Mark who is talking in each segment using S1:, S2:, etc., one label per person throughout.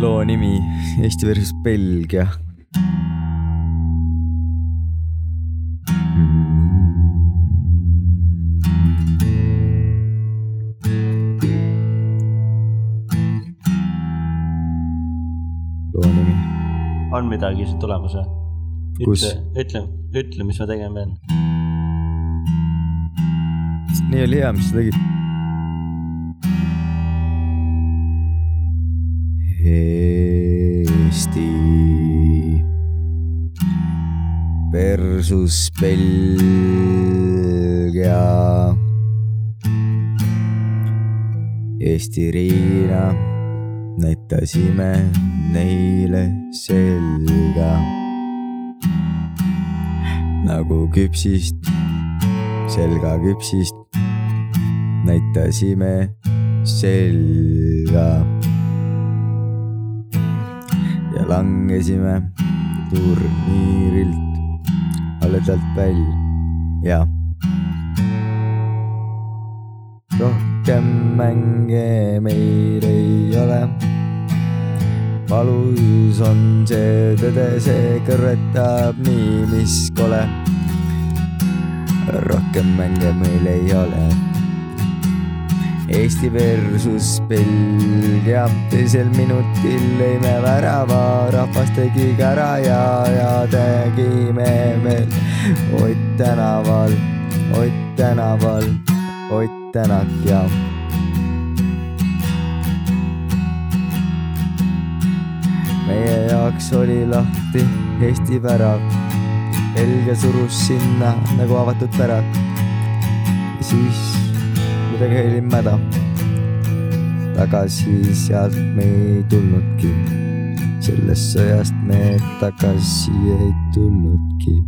S1: loo nimi Eesti versus Belgia . loo nimi ,
S2: on midagi siit tulemas või ?
S1: Kus?
S2: ütle , ütle , ütle , mis ma tegema pean .
S1: nii oli hea , mis sa tegid . Eesti versus Belgia . Eesti Riina näitasime neile selga nagu küpsist , selga küpsist näitasime selga . ja langesime turniirilt haledalt välja . rohkem mänge meil ei ole . valus on see tõde , see kõrvetab nii , mis kole . rohkem mänge meil ei ole Eesti versus Belgia , teisel minutil lõime värava , rahvas tegi kära ja , ja tegime veel Ott tänaval , Ott tänaval , Ott Tänak ja . meie jaoks oli lahti Eesti värav , Belgia surus sinna nagu avatud pärak , siis midagi oli mäda . tagasi sealt me ei tulnudki , sellest sõjast me tagasi ei tulnudki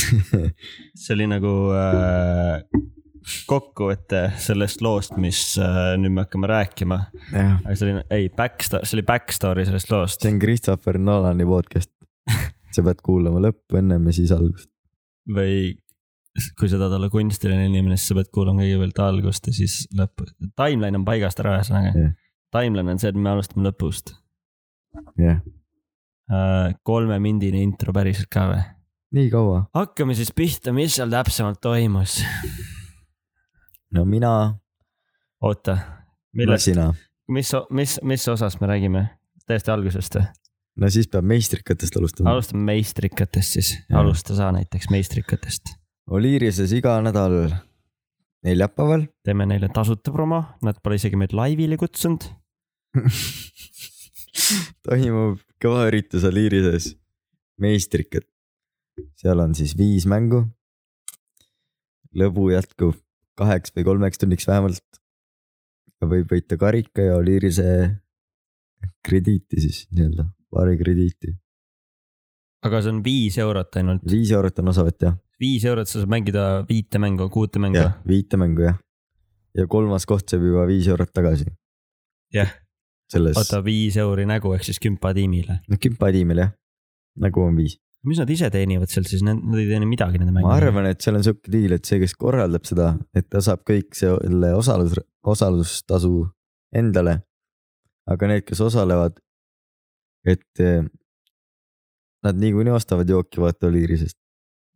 S2: see oli nagu äh, kokkuvõte sellest loost , mis äh, nüüd me hakkame rääkima .
S1: jah ,
S2: aga see oli , ei , backstory , see oli backstory sellest loost
S1: see on Christopher Nolani podcast . sa pead kuulama lõppu ennem ja siis algust .
S2: või kui sa tahad olla kunstiline inimene , siis sa pead kuulama kõigepealt algust ja siis lõppu . Timeline on paigast ära , ühesõnaga
S1: Jah. .
S2: Timeline on see , et me alustame lõpust .
S1: jah ,
S2: kolmemindine intro päriselt ka või ?
S1: nii kaua .
S2: hakkame siis pihta , mis seal täpsemalt toimus .
S1: no mina ,
S2: oota ,
S1: no
S2: millest ,
S1: sina .
S2: mis , mis , mis osas me räägime ? täiesti algusest või ?
S1: no siis peab meistrikatest alustama Alust. .
S2: alustame meistrikatest siis ,
S1: Mm. Jah.
S2: alusta sa näiteks meistrikatest .
S1: Oliirises iga nädal neljapäeval
S2: teeme neile tasuta promo , nad pole isegi meid laivile kutsunud .
S1: toimub kõva üritus Aliirises , meistrikad . seal on siis viis mängu . lõbu jätkub kaheks või kolmeks tunniks vähemalt . võib võita karika ja Aliirise krediiti siis nii-öelda , paari krediiti .
S2: aga see on viis eurot ainult ,
S1: viis eurot on osavõtt jah ,
S2: viis eurot sa saad mängida viite mängu , kuute mängu .
S1: viite mängu jah . ja kolmas koht saab juba viis eurot tagasi .
S2: Jah. .
S1: selles ,
S2: oota , viis euri nägu ehk siis kümpa tiimile .
S1: noh kümpa tiimil jah , nagu on viis .
S2: mis nad ise teenivad seal siis , nad ei teeni midagi nende
S1: ma
S2: mängudega .
S1: arvan , et seal on sihuke diil , et see , kes korraldab seda , et ta saab kõik selle osalus , osalustasu endale . aga need , kes osalevad , et eh, nad niikuinii ostavad jooki vaata Oliirisest ,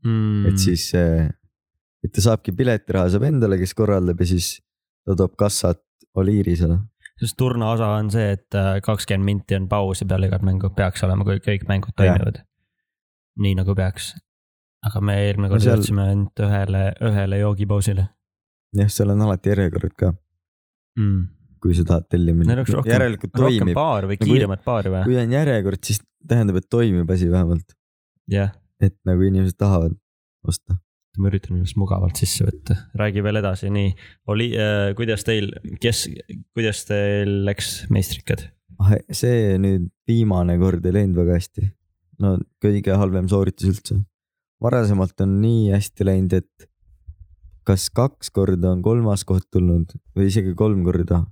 S2: mm,
S1: et . siis , et ta saabki piletiraha saab endale , kes korraldab ja siis ta toob kassat Oliirisele .
S2: sest turna osa on see , et äh, kakskümmend minti on pausi peale igat mängu , peaks olema , kui kõik mängud
S1: Jah.
S2: toimivad . nii nagu peaks . aga me eelmine
S1: No
S2: kord
S1: seal-
S2: jõudsime ainult ühele , ühele joogipausile
S1: jah , seal on alati järjekorrad ka ,
S2: mm. .
S1: kui sa tahad
S2: Neil
S1: tellimine
S2: oleks . rohkem-
S1: järelikult
S2: rohkem
S1: toimib ,
S2: paari või
S1: No kui-
S2: kiiremat paari või ?
S1: kui on järjekord , siis tähendab , et toimib asi vähemalt ,
S2: jah ,
S1: et nagu inimesed tahavad osta .
S2: ma üritan ennast mugavalt sisse võtta , räägi veel edasi , nii . oli äh, , kuidas teil , kes , kuidas teil läks meistrikad ?
S1: Ah, see nüüd viimane kord ei läinud väga hästi . no kõige halvem sooritus üldse . varasemalt on nii hästi läinud , et kas kaks korda on kolmas koht tulnud või isegi kolm korda .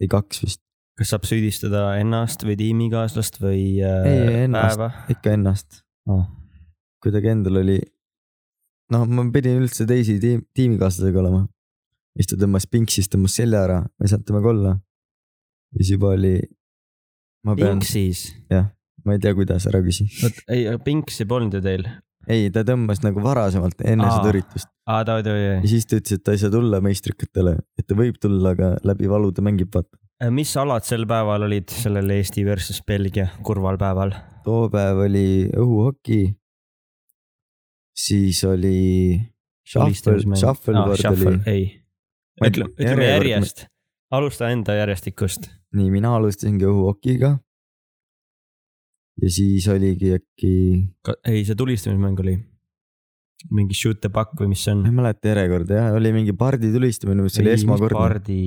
S1: ei , kaks vist ,
S2: kas saab süüdistada ennast või tiimikaaslast või
S1: Ei,
S2: äh,
S1: ennast.
S2: päeva ?
S1: ikka ennast . Ah, kuidagi endal oli , noh , ma pidin üldse teisi tiim , tiimikaaslasega olema . siis ta tõmbas Pinksis tõmbas selja ära, me ei saanud temaga olla . ja siis juba oli , ma pean ,
S2: Pinksis ,
S1: ma ei tea , kuidas , ära küsi .
S2: ei , Pinksi polnud ju teil .
S1: ei , ta tõmbas nagu varasemalt enne
S2: Aa.
S1: seda üritust
S2: aa , ta oli ,
S1: ja
S2: oli ,
S1: siis ta ütles , et ta ei saa tulla meistrikatele , et ta võib tulla , aga läbi valu ta mängib , vaata .
S2: oli . Äh, mis alad sel päeval olid , sellel Eesti versus Belgia kurval päeval ?
S1: too päev oli õhuhoki . siis oli shuffle , shuffleboard oli ,
S2: ei ,
S1: Ma ei-
S2: ütle , ütleme
S1: järjekord-
S2: järjest , alusta enda järjestikust .
S1: nii mina alustasingi õhuhokiga . ja siis oligi äkki ,
S2: ei , see tulistamismäng oli mingi shoot the puck või mis see on
S1: ma ? ei mäleta järjekorda jah , oli mingi pardi tulistamine , mis oli esmakordne ,
S2: pardi ,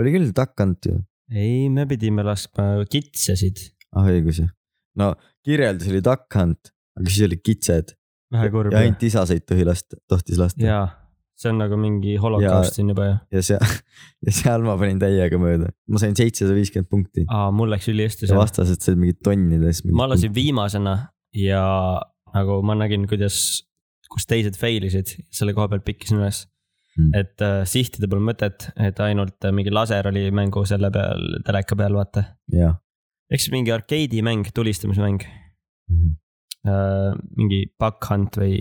S1: oli küll takkant ju ,
S2: ei , me pidime laskma kitsesid ,
S1: ah õigus jah . no kirjeldus oli takkant , aga siis olid kitsed
S2: vähe kurb
S1: ja . ainult isaseid tohi lasta , tohtis lasta ja,
S2: jaa , see on nagu mingi holokaust siin juba ju .
S1: ja seal , ja seal ma panin täiega mööda , ma sain seitsesada viiskümmend punkti
S2: aa , mul läks ülihästi
S1: ja
S2: Ah, see .
S1: vastased said mingid tonnides .
S2: ma lasin viimasena ja nagu ma nägin , kuidas , kus teised fail isid , selle koha pealt pikkisin üles .
S1: Mm.
S2: et äh, sihtida pole mõtet , et ainult äh, mingi laser oli mängu selle peal , teleka peal , vaata .
S1: jah ,
S2: eks mingi arkeedimäng , tulistamismäng
S1: Mhm.
S2: äh, , mingi puck hunt või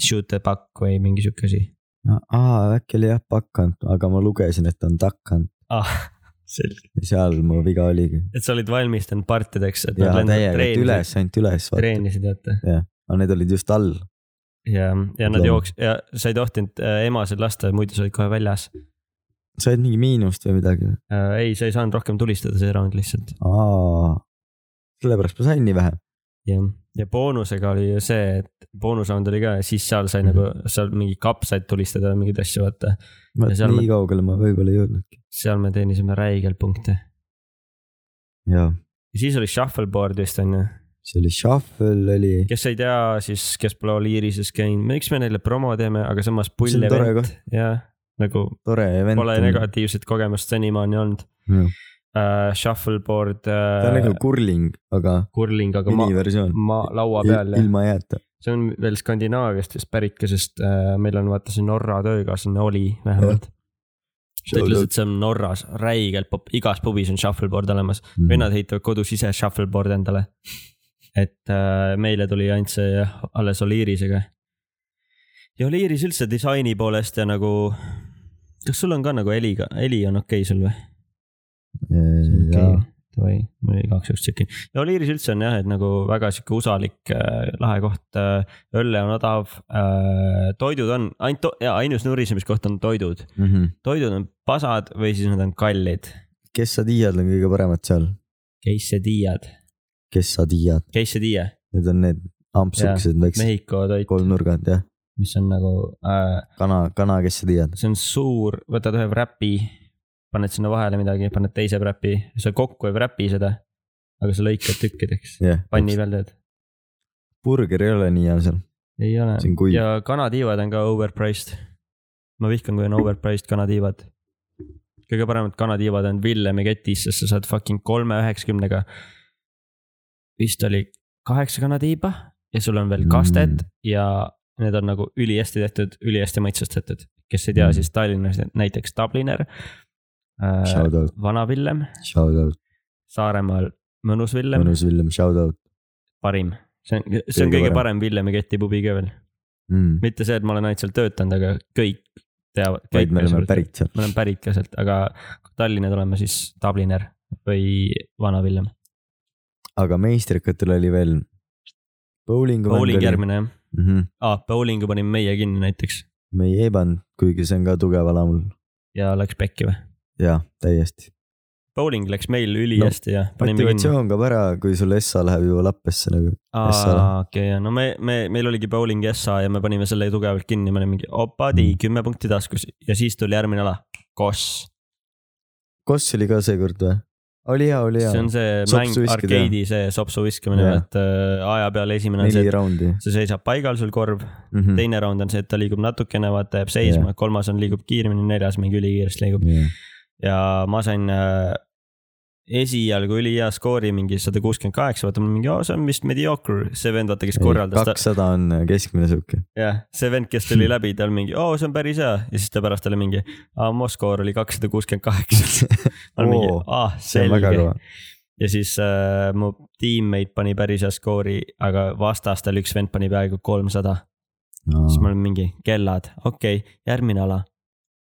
S2: shoot the puck või mingi sihuke asi
S1: aa äkki oli jah pakkant , aga ma lugesin , et on takkant
S2: ah, . selge .
S1: ja seal mu viga oligi .
S2: et sa olid valmistunud partideks , et
S1: ja
S2: nad lendavad
S1: täiega , et
S2: treenisid ,
S1: üles , ainult üles vaata ,
S2: treenisid , vaata .
S1: aga need olid just all .
S2: ja , ja nad
S1: Loom-
S2: jooks- ja sa ei tohtinud äh, emasid lasta , muidu sa olid kohe väljas .
S1: said mingi miinust või midagi ?
S2: Äh, ei , sa ei saanud rohkem tulistada , see round lihtsalt .
S1: aa , sellepärast ma sain nii vähe .
S2: jah , ja boonusega oli ju see , et boonusround oli ka ja siis seal sai
S1: Mhm.
S2: nagu , seal mingi kapsaid tulistada ja mingeid asju , vaata . Ja seal
S1: nii
S2: ma-
S1: kaugele ma võib-olla ei jõudnudki .
S2: seal me teenisime räigelt punkte .
S1: jaa ,
S2: ja siis oli shuffleboard vist on ju .
S1: see oli shuffle oli ,
S2: kes ei tea , siis kes pole Oliirises käinud , miks me neile promo teeme , aga samas pull
S1: See on tore
S2: event ja nagu
S1: tore event .
S2: pole negatiivset kogemust senimaani olnud
S1: Jah.
S2: uh, . Shuffleboard
S1: ta on
S2: uh,
S1: nagu , kurling , aga
S2: curling , aga ma ,
S1: miniversioon .
S2: ma laua peal ja
S1: ilma jääta .
S2: see on veel Skandinaaviast vist pärit ka , sest äh, meil on vaata see Norra töökaaslane oli vähemalt . ta ütles , et see on Norras räigelt pop- , igas pubis on shuffleboard olemas .
S1: Mhm. Mm-hmm.
S2: vennad ehitavad kodus ise shuffleboard endale . et äh, meile tuli ainult see jah, alles Oliirisega . ja Oliiris üldse disaini poolest ja nagu , kas sul on ka nagu heliga , heli on okei okay sul või ?
S1: jaa ,
S2: davai , ma igaks juhuks tšekin . ja Oliiris üldse on jah , et nagu väga sihuke usalik äh, lahe koht äh, , õlle on odav äh, , toidud on ainult to, , jaa , ainus nurisemiskoht on toidud .
S1: Mm-hmm.
S2: toidud on pasad või siis nad on kallid .
S1: kes sa tiiad , on kõige paremad seal ,
S2: Case diad ,
S1: kes sa tiiad ,
S2: Case die ,
S1: need on need ampsukesed väiksed
S2: Mehhiko toit ,
S1: kolmnurgad jah ,
S2: mis on nagu äh, ,
S1: kana , kana , kes sa tiiad ,
S2: see on suur , võtad ühe wrap'i , paned sinna vahele midagi , paned teise wrap'i , sa kokku ei wrap'i seda , aga sa lõikad tükkideks ,
S1: jah .
S2: panni peal teed .
S1: burger ei ole nii hea seal ,
S2: ei ole
S1: see on kuiv ja... ,
S2: ja kanatiivad on ka overpriced . ma vihkan , kui on overpriced kanatiivad . kõige paremad kanatiivad on Villemi ketis , sest sa saad fucking kolme üheksakümnega . vist oli kaheksa kanatiiba ja sul on veel kastet
S1: Mm.
S2: mm. ja need on nagu ülihästi tehtud , ülihästi maitsestatud . kes ei tea
S1: Mm.
S2: mm. , siis Tallinnas näiteks Dubliner äh, ,
S1: shout out ,
S2: Vana Villem ,
S1: shout out ,
S2: Saaremaal Mõnus Villem ,
S1: Mõnus Villem , shout out
S2: parim . see on , see on
S1: Kõige
S2: kõige
S1: parem.
S2: parem Villemi keti pubi ka veel .
S1: mm. .
S2: mitte see , et ma olen ainult seal töötanud , aga kõik teavad .
S1: vaid me oleme . pärit
S2: ma
S1: seal
S2: olen , pärit ka sealt , aga kui Tallinna tuleme , siis Dubliner või Vana-Villem .
S1: aga meistrikatel oli veel bowlingu .
S2: bowling . järgmine jah
S1: Mm -hmm.
S2: ah, , bowlingu panime meie kinni näiteks
S1: me ei ebanud , kuigi see on ka tugev ala mul ,
S2: ja läks pekki või ?
S1: jaa , täiesti .
S2: Bowling läks meil ülihästi no, ja panime kinni .
S1: motivatsioon kaob ära , kui sul SA läheb juba lappesse nagu , SA-le.
S2: okei , ja no me , me , meil oligi bowling SA ja me panime selle tugevalt kinni , me olime mingi
S1: Mm.
S2: opadi , kümme punkti taskus ja siis tuli järgmine ala , koss .
S1: Koss oli ka seekord või ? oli hea , oli hea
S2: see , on see mäng
S1: Sopsu , viskida.
S2: arkeedi see sopsu viskamine
S1: Jaa. ,
S2: et äh, aja peale esimene on see ,
S1: neli raundi
S2: et sa seisad paigal , sul korv
S1: mm . -hmm.
S2: teine round on see , et ta liigub natukene , vaata jääb seisma yeah. , kolmas on , liigub kiiremini , neljas mingi ülikiiresti liigub
S1: yeah.
S2: ja ma sain äh, esialgu ülihea skoori mingi sada kuuskümmend kaheksa, vaata mul mingi , see on vist mediocre , see vend vaata , kes korraldas ta ,
S1: kakssada on keskmine sihuke .
S2: jah , see vend , kes tuli läbi , tal mingi , oo , see on päris hea ja siis ta pärast oli mingi , aa , mu skoor oli kakssada kuuskümmend kaheksa . ma olen mingi
S1: Oo, ,
S2: aa ,
S1: see on väga
S2: selge .
S1: kõva .
S2: ja siis äh, mu teammate pani päris hea skoori , aga vastastel üks vend pani peaaegu kolmsada , siis ma olin mingi , kellad , okei okay, , järgmine ala .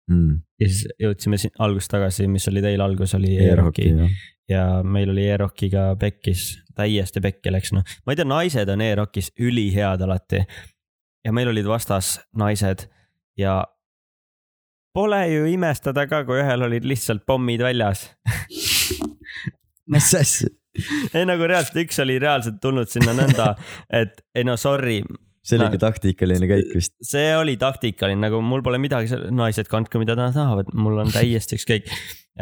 S1: mm.
S2: ja siis jõudsime siin algusest tagasi , mis oli teil algus , oli e-rocki
S1: E-rocki jah .
S2: ja meil oli e-rockiga pekkis , täiesti pekki läks , noh , ma ei tea , naised on e-rockis ülihead alati . ja meil olid vastas naised ja pole ju imestada ka , kui ühel olid lihtsalt pommid väljas .
S1: mis asja ?
S2: ei nagu reaalselt , üks oli reaalselt tulnud sinna nõnda , et ei no sorry ,
S1: see oli
S2: No.
S1: ikka taktikaline käik vist .
S2: see oli taktikaline , nagu mul pole midagi , naised kandku , mida nad tahavad , mul on täiesti ükskõik .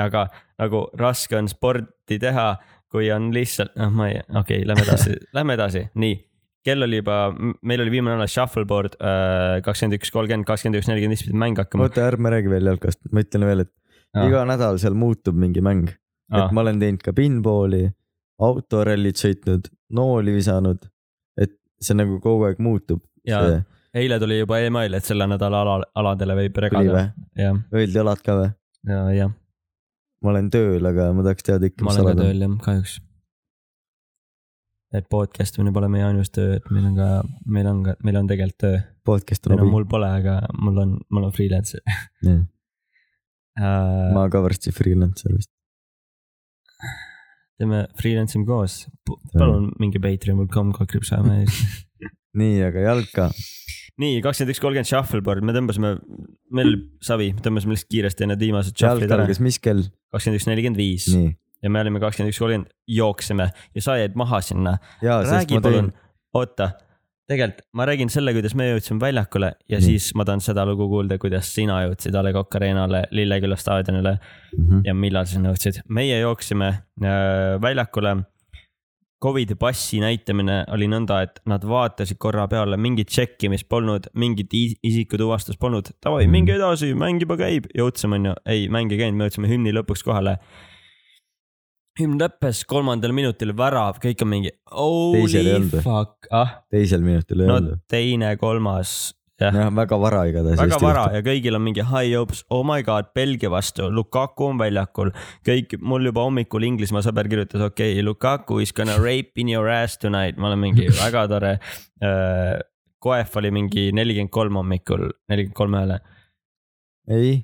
S2: aga nagu raske on sporti teha , kui on lihtsalt , noh , ma ei , okei okay, , lähme edasi , lähme edasi , nii . kell oli juba , meil oli viimane ala shuffleboard äh, kakskümmend üks , kolmkümmend , kakskümmend üks , nelikümmend , siis pidi mäng hakkama .
S1: oota , ärme räägi veel jalkast , ma ütlen veel , et ah. iga nädal seal muutub mingi mäng ah. . et ma olen teinud ka pinballi , autorallit sõitnud , nooli visanud , et see nagu kogu aeg muutub .
S2: ja
S1: see
S2: eile tuli juba email , et selle nädala ala , aladele võib
S1: tuli
S2: regada .
S1: või ?
S2: jah ,
S1: öeldi alad ka või ?
S2: ja , ja
S1: ma olen tööl , aga ma tahaks teada ikka ,
S2: ma
S1: mis
S2: olen ka
S1: alad on .
S2: tööl jah , kahjuks . et podcast imine pole meie ainus töö , et meil on ka , meil on ka , meil on tegelikult töö .
S1: podcast
S2: või
S1: on
S2: no
S1: hobi .
S2: mul pole , aga mul on , ma olen freelancer
S1: Jah.
S2: uh, .
S1: ma ka varsti freelancer vist .
S2: teeme freelance ime koos .
S1: Teeme.
S2: palun minge patreon.com kakripsaame ees .
S1: nii , aga jalka ,
S2: nii , kakskümmend üks kolmkümmend shuffleboard , me tõmbasime , meil oli savi , me tõmbasime lihtsalt kiiresti enne viimased shuffle'id
S1: jalka
S2: ära .
S1: algas mis kell ?
S2: kakskümmend üks nelikümmend viis
S1: nii .
S2: ja me olime kakskümmend üks kolmkümmend , jooksime ja sa jäid maha sinna .
S1: jaa , sest
S2: räägi
S1: ma tõin
S2: palun ,, oota , tegelikult ma räägin selle , kuidas me jõudsime väljakule
S1: Nii.
S2: ja Nii. siis ma tahan seda lugu kuulda , kuidas sina jõudsid A Le Coq Arena'le , Lilleküla staadionile
S1: Mhm.
S2: ja millal sa sinna jõudsid . meie jooksime äh, väljakule . Covidi passi näitamine oli nõnda , et nad vaatasid korra peale , mingit tšekkimist polnud , mingit i- isikutuvastust polnud . Davai ,
S1: Mhm.
S2: minge edasi , mäng juba käib . jõudsime , onju . ei , mäng ei käinud , me jõudsime hümni lõpuks kohale . hümn lõppes kolmandal minutil värav , kõik on mingi
S1: Teisel ei
S2: holy
S1: olnud või?
S2: fuck , ah ,
S1: teisel minutil ei
S2: no
S1: öelnud .
S2: teine , kolmas , jah
S1: jah , väga vara igatahes .
S2: väga vara . ja kõigil on mingi high hopes , oh my god , Belgia vastu , Lukaku on väljakul . kõik , mul juba hommikul Inglismaa sõber kirjutas , okei okay, , Lukaku is gonna rape in your ass tonight , ma olen mingi väga tore . Koef oli mingi nelikümmend kolm hommikul , nelikümmend kolm ühele .
S1: ei ,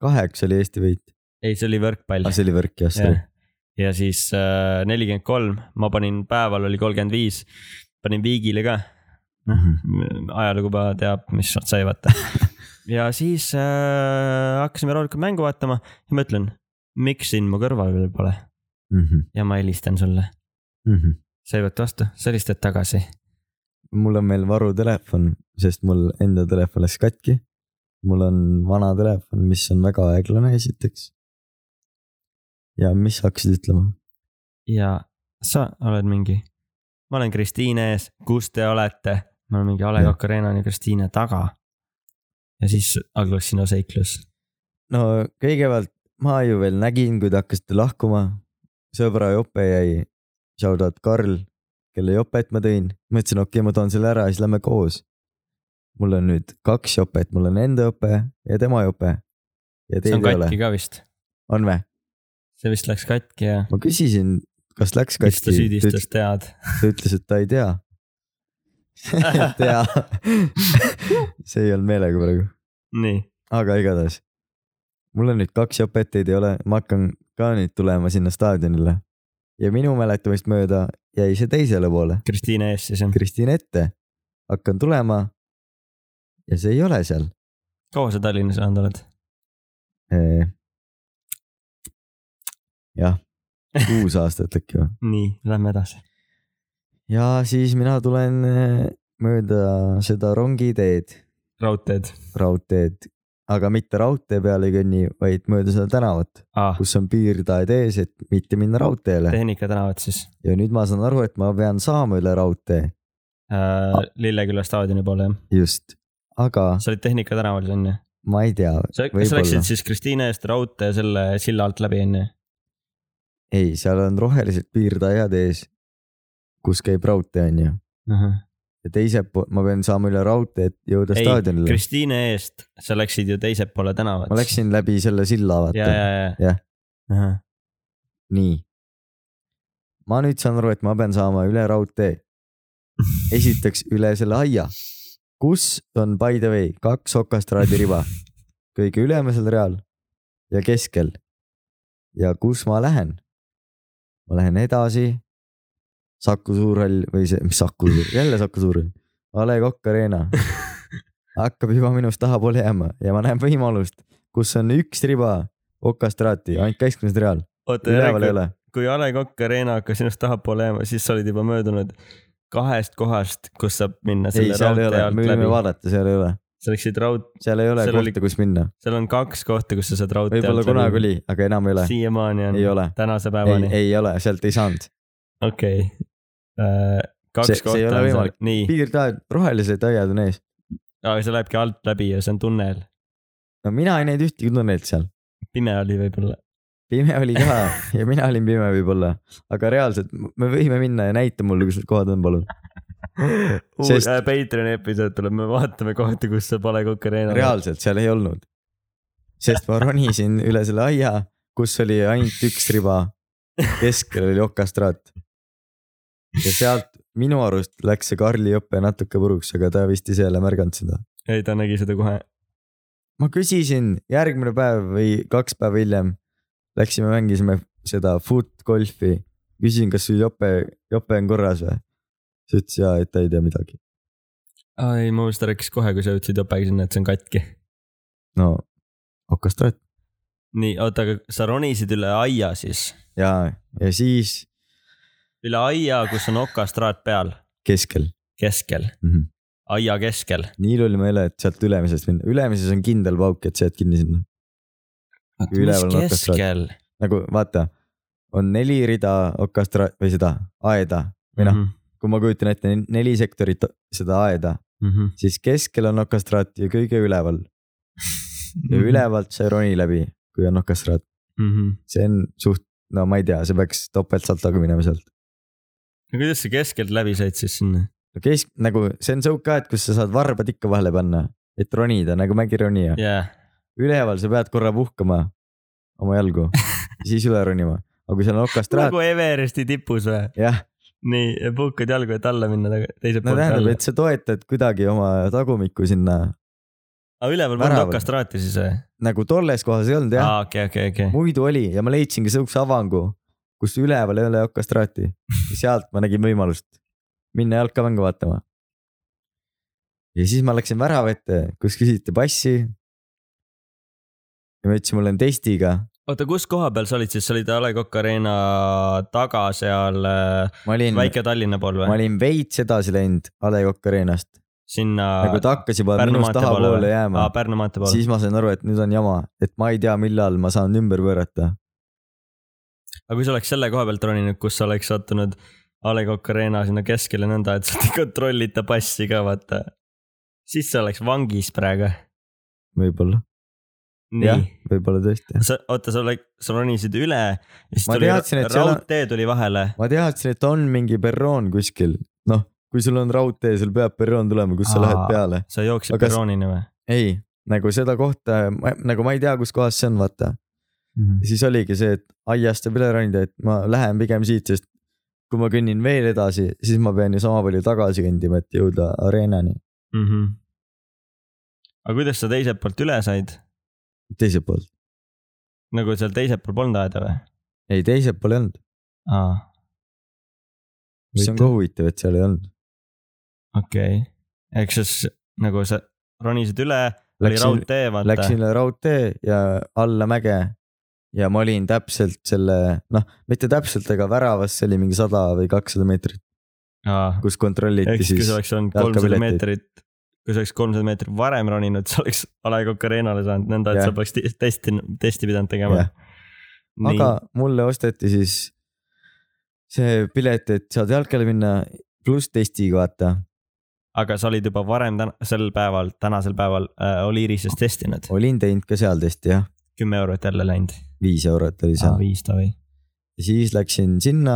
S1: kaheksa oli Eesti võit .
S2: ei , see oli võrkpall
S1: aa , Ah, see oli võrk jah , sorry .
S2: ja siis äh, nelikümmend kolm , ma panin päeval oli kolmkümmend viis , panin viigile ka . noh ,
S1: Mhm,
S2: ajalugu juba teab , mis nad sai vaata . ja siis äh, hakkasime rahulikult mängu vaatama ja ma ütlen , miks sind mu kõrval veel pole
S1: mhm,
S2: ja ma helistan sulle . sa ei võta vastu , sa helistad tagasi .
S1: mul on veel varutelefon , sest mul enda telefon läks katki . mul on vana telefon , mis on väga aeglane esiteks . ja mis sa hakkasid ütlema ?
S2: ja sa oled mingi , ma olen Kristiine ees , kus te olete ? ma olen mingi A Le
S1: Jah.
S2: Coq Arena'l ja Kristiine taga . ja siis algas sinu seiklus .
S1: no kõigepealt ma ju veel nägin , kui te hakkasite lahkuma . sõbra jope jäi , shout out Karl , kelle jopet ma tõin , mõtlesin , okei okay, , ma toon selle ära , siis lähme koos . mul on nüüd kaks jopet , mul on enda jope ja tema jope . ja
S2: see
S1: teid
S2: on
S1: ei ole ,
S2: katki ka vist .
S1: on vä ?
S2: see vist läks katki ja
S1: ma küsisin , kas läks
S2: siis ta
S1: katki , ta
S2: süüdistas tead .
S1: ta ütles , et ta ei tea . tea , see ei olnud meelega praegu ,
S2: nii ,
S1: aga igatahes . mul on nüüd kaks jopet , teid ei ole , ma hakkan ka nüüd tulema sinna staadionile . ja minu mäletamist mööda jäi see teisele poole ,
S2: Kristiine ees siis jah .
S1: Kristiin ette . hakkan tulema . ja see ei ole seal .
S2: kaua sa Tallinnas elanud oled ?
S1: eh, jah , kuus aastat äkki või ?
S2: nii , lähme edasi .
S1: ja siis mina tulen eh, mööda seda rongiteed
S2: raudteed
S1: raudteed , aga mitte raudtee peale ei kõnni , vaid mööda seda tänavat ,
S2: ah, .
S1: kus on piirtaed ees , et mitte minna raudteele .
S2: Tehnika tänavat siis
S1: ja nüüd ma saan aru , et ma pean saama üle raudtee ,
S2: äh, .
S1: Ah.
S2: Lilleküla staadioni poole jah .
S1: just , aga
S2: sa olid Tehnika tänaval siis onju ?
S1: ma ei tea ,
S2: sa , kas sa
S1: Võib-olla.
S2: läksid siis Kristiine eest raudtee selle silla alt läbi onju ?
S1: ei , seal on rohelised piirdeaiad ees , kus käib raudtee , onju . ja teiselt poolt ma pean saama üle raudtee , et jõuda
S2: ei ,
S1: staadionile .
S2: Kristiine eest , sa läksid ju teise poole tänavat .
S1: ma läksin läbi selle silla ,
S2: ja ,
S1: vaata ,
S2: ja ,
S1: Jah.
S2: ja . jah .
S1: nii . ma nüüd saan aru , et ma pean saama üle raudtee . esiteks üle selle aia , kus on by the way kaks okastraadiriba , kõige ülemisel real ja keskel . ja kus ma lähen ? ma lähen edasi . Saku Suurhall või see , mis Saku , jälle Saku Suurhall , A Le Coq Arena hakkab juba minust tahapoole jääma ja ma näen võimalust , kus on üks riba okastraati , ainult keskmised real ,
S2: oota ,
S1: üleval ei
S2: järelikult
S1: ole .
S2: kui A Le Coq Arena hakkas sinust tahapoole jääma , siis sa olid juba möödunud kahest kohast , kus saab minna
S1: ei ,
S2: selle
S1: seal ei ole
S2: raudtee , alt
S1: me võime
S2: läbi .
S1: vaadata , seal ei ole ,
S2: sa läksid raud- ,
S1: seal ei ole
S2: Seal
S1: kohta
S2: oli-
S1: oli... , kus minna .
S2: seal on kaks kohta , kus sa saad raudtee
S1: võib-olla kunagi oli , aga enam ei ole ,
S2: siiamaani on
S1: ei , ole ,
S2: tänase
S1: ei ,
S2: päevani ,
S1: ei ole , sealt ei saanud .
S2: okei . kaks
S1: See- see
S2: kohta
S1: ei ole
S2: on seal
S1: võimalik. ,
S2: nii ,
S1: piirdeaed , rohelised aiad on ees .
S2: aga see lähebki alt läbi ja see on tunnel ,
S1: no mina ei näinud ühtegi tunnelit seal ,
S2: pime oli võib-olla .
S1: pime oli ka ja mina olin pime võib-olla , aga reaalselt me võime minna ja näita mulle , kus need kohad on , palun .
S2: Sest...
S1: Sest-
S2: äh, Patreon'i episood tuleb , me vaatame kohti , kus saab A Le Coq Arena .
S1: reaalselt seal ei olnud . sest ma ronisin üle selle aia , kus oli ainult üks riba , keskel oli okastraat . ja sealt minu arust läks see Karli õpe natuke puruks , aga ta vist ise ei ole märganud seda .
S2: ei , ta nägi seda kohe .
S1: ma küsisin järgmine päev või kaks päeva hiljem , läksime mängisime seda footgolfi , küsisin , kas sul jope , jope on korras või ? ta ütles jaa , et ta ei tea midagi .
S2: ei , mu meelest ta rääkis kohe , kui sa jõudsid jopega sinna , et see on katki .
S1: no okastraat
S2: nii , oota , aga sa ronisid üle aia siis ,
S1: ja , ja siis
S2: üle aia , kus on okastraat peal ,
S1: keskel
S2: keskel ,
S1: mm . -hmm.
S2: aia keskel .
S1: nii hull ma ei ole , et sealt ülemisest minna , ülemises on kindel pauk , et sa jääd kinni sinna . Üleval on okastraat.
S2: keskel ?
S1: nagu vaata , on neli rida okastra- või seda aeda või
S2: Mhm.
S1: noh , kui ma kujutan ette ne- neli sektorit seda aeda ,
S2: noh .
S1: siis keskel on okastraat ja kõige üleval ja
S2: Mhm.
S1: ülevalt sa ei roni läbi , kui on okastraat , see on suht , no ma ei tea , see peaks topeltsaltoga minema sealt .
S2: no kuidas sa keskelt läbi said siis sinna ?
S1: no kesk , nagu see on sõuk ka , et kus sa saad varbad ikka vahele panna , et ronida nagu mägironija .
S2: jaa ,
S1: üleval sa pead korra puhkama oma jalgu siis üle ronima , aga kui seal on okastraat ,
S2: nagu Everesti tipus või ?
S1: jah ,
S2: nii , ja puhkad jalgu , et alla minna taga , teiselt
S1: no
S2: poolt
S1: tähendab ,
S2: alla
S1: et . sa toetad kuidagi oma tagumikku sinna ,
S2: aga üleval pole
S1: väraval.
S2: okastraati siis või ?
S1: nagu tolles kohas ei olnud jah ,
S2: aa , okei , okei , okei .
S1: muidu oli ja ma leidsingi sihukese avangu , kus üleval ei ole okastraati . sealt ma nägin võimalust minna jalkamängu vaatama . ja siis ma läksin värava ette , kus küsiti passi . ja ma ütlesin , mul on testiga ,
S2: oota , kus koha peal sa olid siis , sa olid A Le Coq Arena taga seal äh,
S1: ma olin ,
S2: Väike-Tallinna pool
S1: ma
S2: või ?
S1: olin veits edasi läinud A Le Coq Arenast ,
S2: sinna
S1: nagu ta hakkas juba
S2: Pärnu
S1: minust
S2: maantee poole
S1: tahapoole
S2: või?
S1: jääma
S2: aa , Pärnu maantee poole .
S1: siis ma sain aru , et nüüd on jama , et ma ei tea , millal ma saan ümber pöörata .
S2: aga kui sa oleks selle koha pealt roninud , kus sa oleks sattunud A Le Coq Arena sinna keskele nõnda , et sa ei kontrollita passi ka , vaata . siis sa oleks vangis praegu .
S1: võib-olla ,
S2: nii
S1: Jah. . võib-olla tõesti .
S2: sa , oota , sa oled , sa ronisid üle ja siis
S1: Ma
S2: tuli
S1: teadsin, et seal on-
S2: raudtee tuli vahele .
S1: ma teadsin , et on mingi perroon kuskil , noh , kui sul on raudtee , sul peab perroon tulema , kus sa
S2: Aa.
S1: lähed peale .
S2: sa jooksid
S1: Aga s-
S2: perroonini või ?
S1: ei , nagu seda kohta , nagu ma ei tea , kus kohas see on , vaata . siis oligi see , et aiast saab üle ronida , et ma lähen pigem siit , sest kui ma kõnnin veel edasi , siis ma pean ju sama palju tagasi kõndima , et jõuda areenani
S2: mhmh . Mhm. aga kuidas sa teiselt poolt üle said ,
S1: teiselt poolt .
S2: nagu seal teisel pool polnud aeda või ?
S1: ei , teiselt pool ei olnud ,
S2: aa ,
S1: mis on ka huvitav , et seal ei olnud .
S2: okei okay. . ehk siis nagu sa ronisid üle , oli
S1: Läksin ,
S2: raudtee , vaata .
S1: läksin üle raudtee ja alla mäge ja ma olin täpselt selle , noh , mitte täpselt , aga väravas see oli mingi sada või kakssada meetrit ,
S2: aa ,
S1: kus kontrolliti
S2: ehk siis kui
S1: siis
S2: sa . oleks olnud kolmsada
S1: jalkapileteid.
S2: meetrit , kui sa oleks kolmsada meetrit varem roninud , sa oleks A Le Coq Arena'le saanud nõnda , et
S1: Jah.
S2: sa poleks ti- testi , testi pidanud tegema
S1: Jah. . aga mulle osteti siis see pilet , et saad jalkale minna , pluss testiga vaata ,
S2: aga sa olid juba varem täna , sel päeval , tänasel päeval äh, Oliirises testinud ,
S1: olin teinud ka seal testi jah ,
S2: kümme eurot jälle läinud ,
S1: viis eurot oli seal ,
S2: viis tavi .
S1: ja siis läksin sinna ,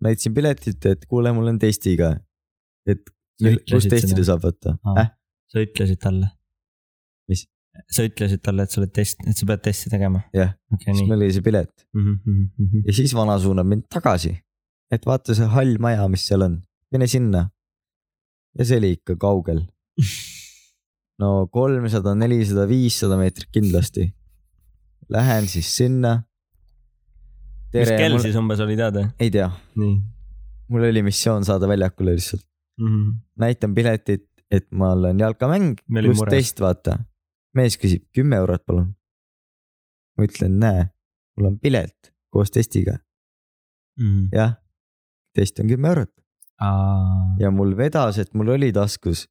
S1: näitasin piletit , et kuule , mul on testiga . et
S2: Sa
S1: mil- kus
S2: ütlesid
S1: testida
S2: seda?
S1: saab võtta
S2: Aa.
S1: ah. ?
S2: sa ütlesid talle ?
S1: Mis? ?
S2: sa ütlesid talle , et sa oled test , et sa pead testi tegema ?
S1: Jah.
S2: okei ,
S1: siis
S2: nii . Mhm,
S1: mul oli see pilet ja siis vana suunab mind tagasi . et vaata see hall maja , mis seal on , mine sinna . ja see oli ikka kaugel . no kolmsada , nelisada , viissada meetrit kindlasti . Lähen siis sinna .
S2: mis kell
S1: mul...
S2: siis umbes oli teada ?
S1: ei tea ,
S2: nii .
S1: mul oli missioon saada väljakule lihtsalt ,
S2: Mhm,
S1: näitan piletit , et ma olen jalkamäng
S2: Me olime
S1: pluss
S2: mures.
S1: test , vaata . mees küsib kümme eurot , palun . ma ütlen , näe , mul on pilet koos testiga ,
S2: Mhm.
S1: jah . test on kümme eurot ja mul vedas , et mul oli taskus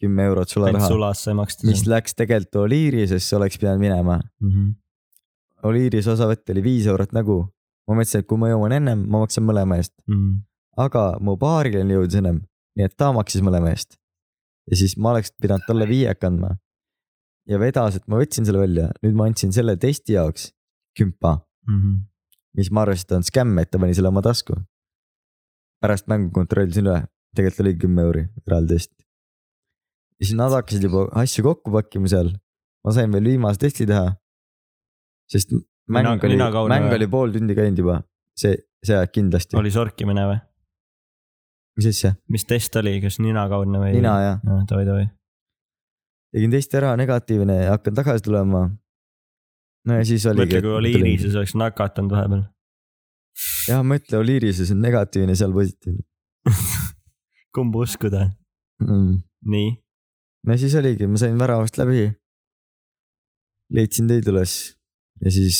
S1: kümme eurot
S2: ainult
S1: sularaha ,
S2: sulas sai maksta .
S1: mis läks tegelikult Oliirisesse , oleks pidanud minema .
S2: Mhm,
S1: Oliiris osavõtt oli viis eurot nägu . ma mõtlesin , et kui ma jõuan ennem , ma maksan mõlema eest ,
S2: mhm,
S1: aga mu paarilane jõudis ennem , nii et ta maksis mõlema eest . ja siis ma oleks pidanud talle viieka andma . ja vedas , et ma võtsin selle välja , nüüd ma andsin selle testi jaoks kümpa ,
S2: mhm.
S1: mis ma arvasin , et on skämm , et ta pani selle oma tasku . pärast mängu kontrollisin üle , tegelikult oli kümme euri eraldi eest . ja siis nad hakkasid juba asju kokku pakkima seal . ma sain veel viimase testi teha . sest mäng
S2: Nina-
S1: oli ,
S2: ninakaune
S1: mäng
S2: või?
S1: oli pool tundi käinud juba , see , see aeg kindlasti .
S2: oli sorkimine või ?
S1: mis asja ,
S2: mis test oli , kas ninakaudne või ? Ah,
S1: nina ja
S2: jah . toidoi .
S1: tegin testi ära , negatiivne , hakkan tagasi tulema . no ja siis oligi .
S2: mõtle , kui Oliirises oleks nakatanud vahepeal .
S1: jah , mõtle Oliirises on negatiivne , seal positiivne
S2: kumba uskuda ?
S1: mm. .
S2: nii .
S1: no siis oligi , ma sain väravast läbi . leidsin teid üles ja siis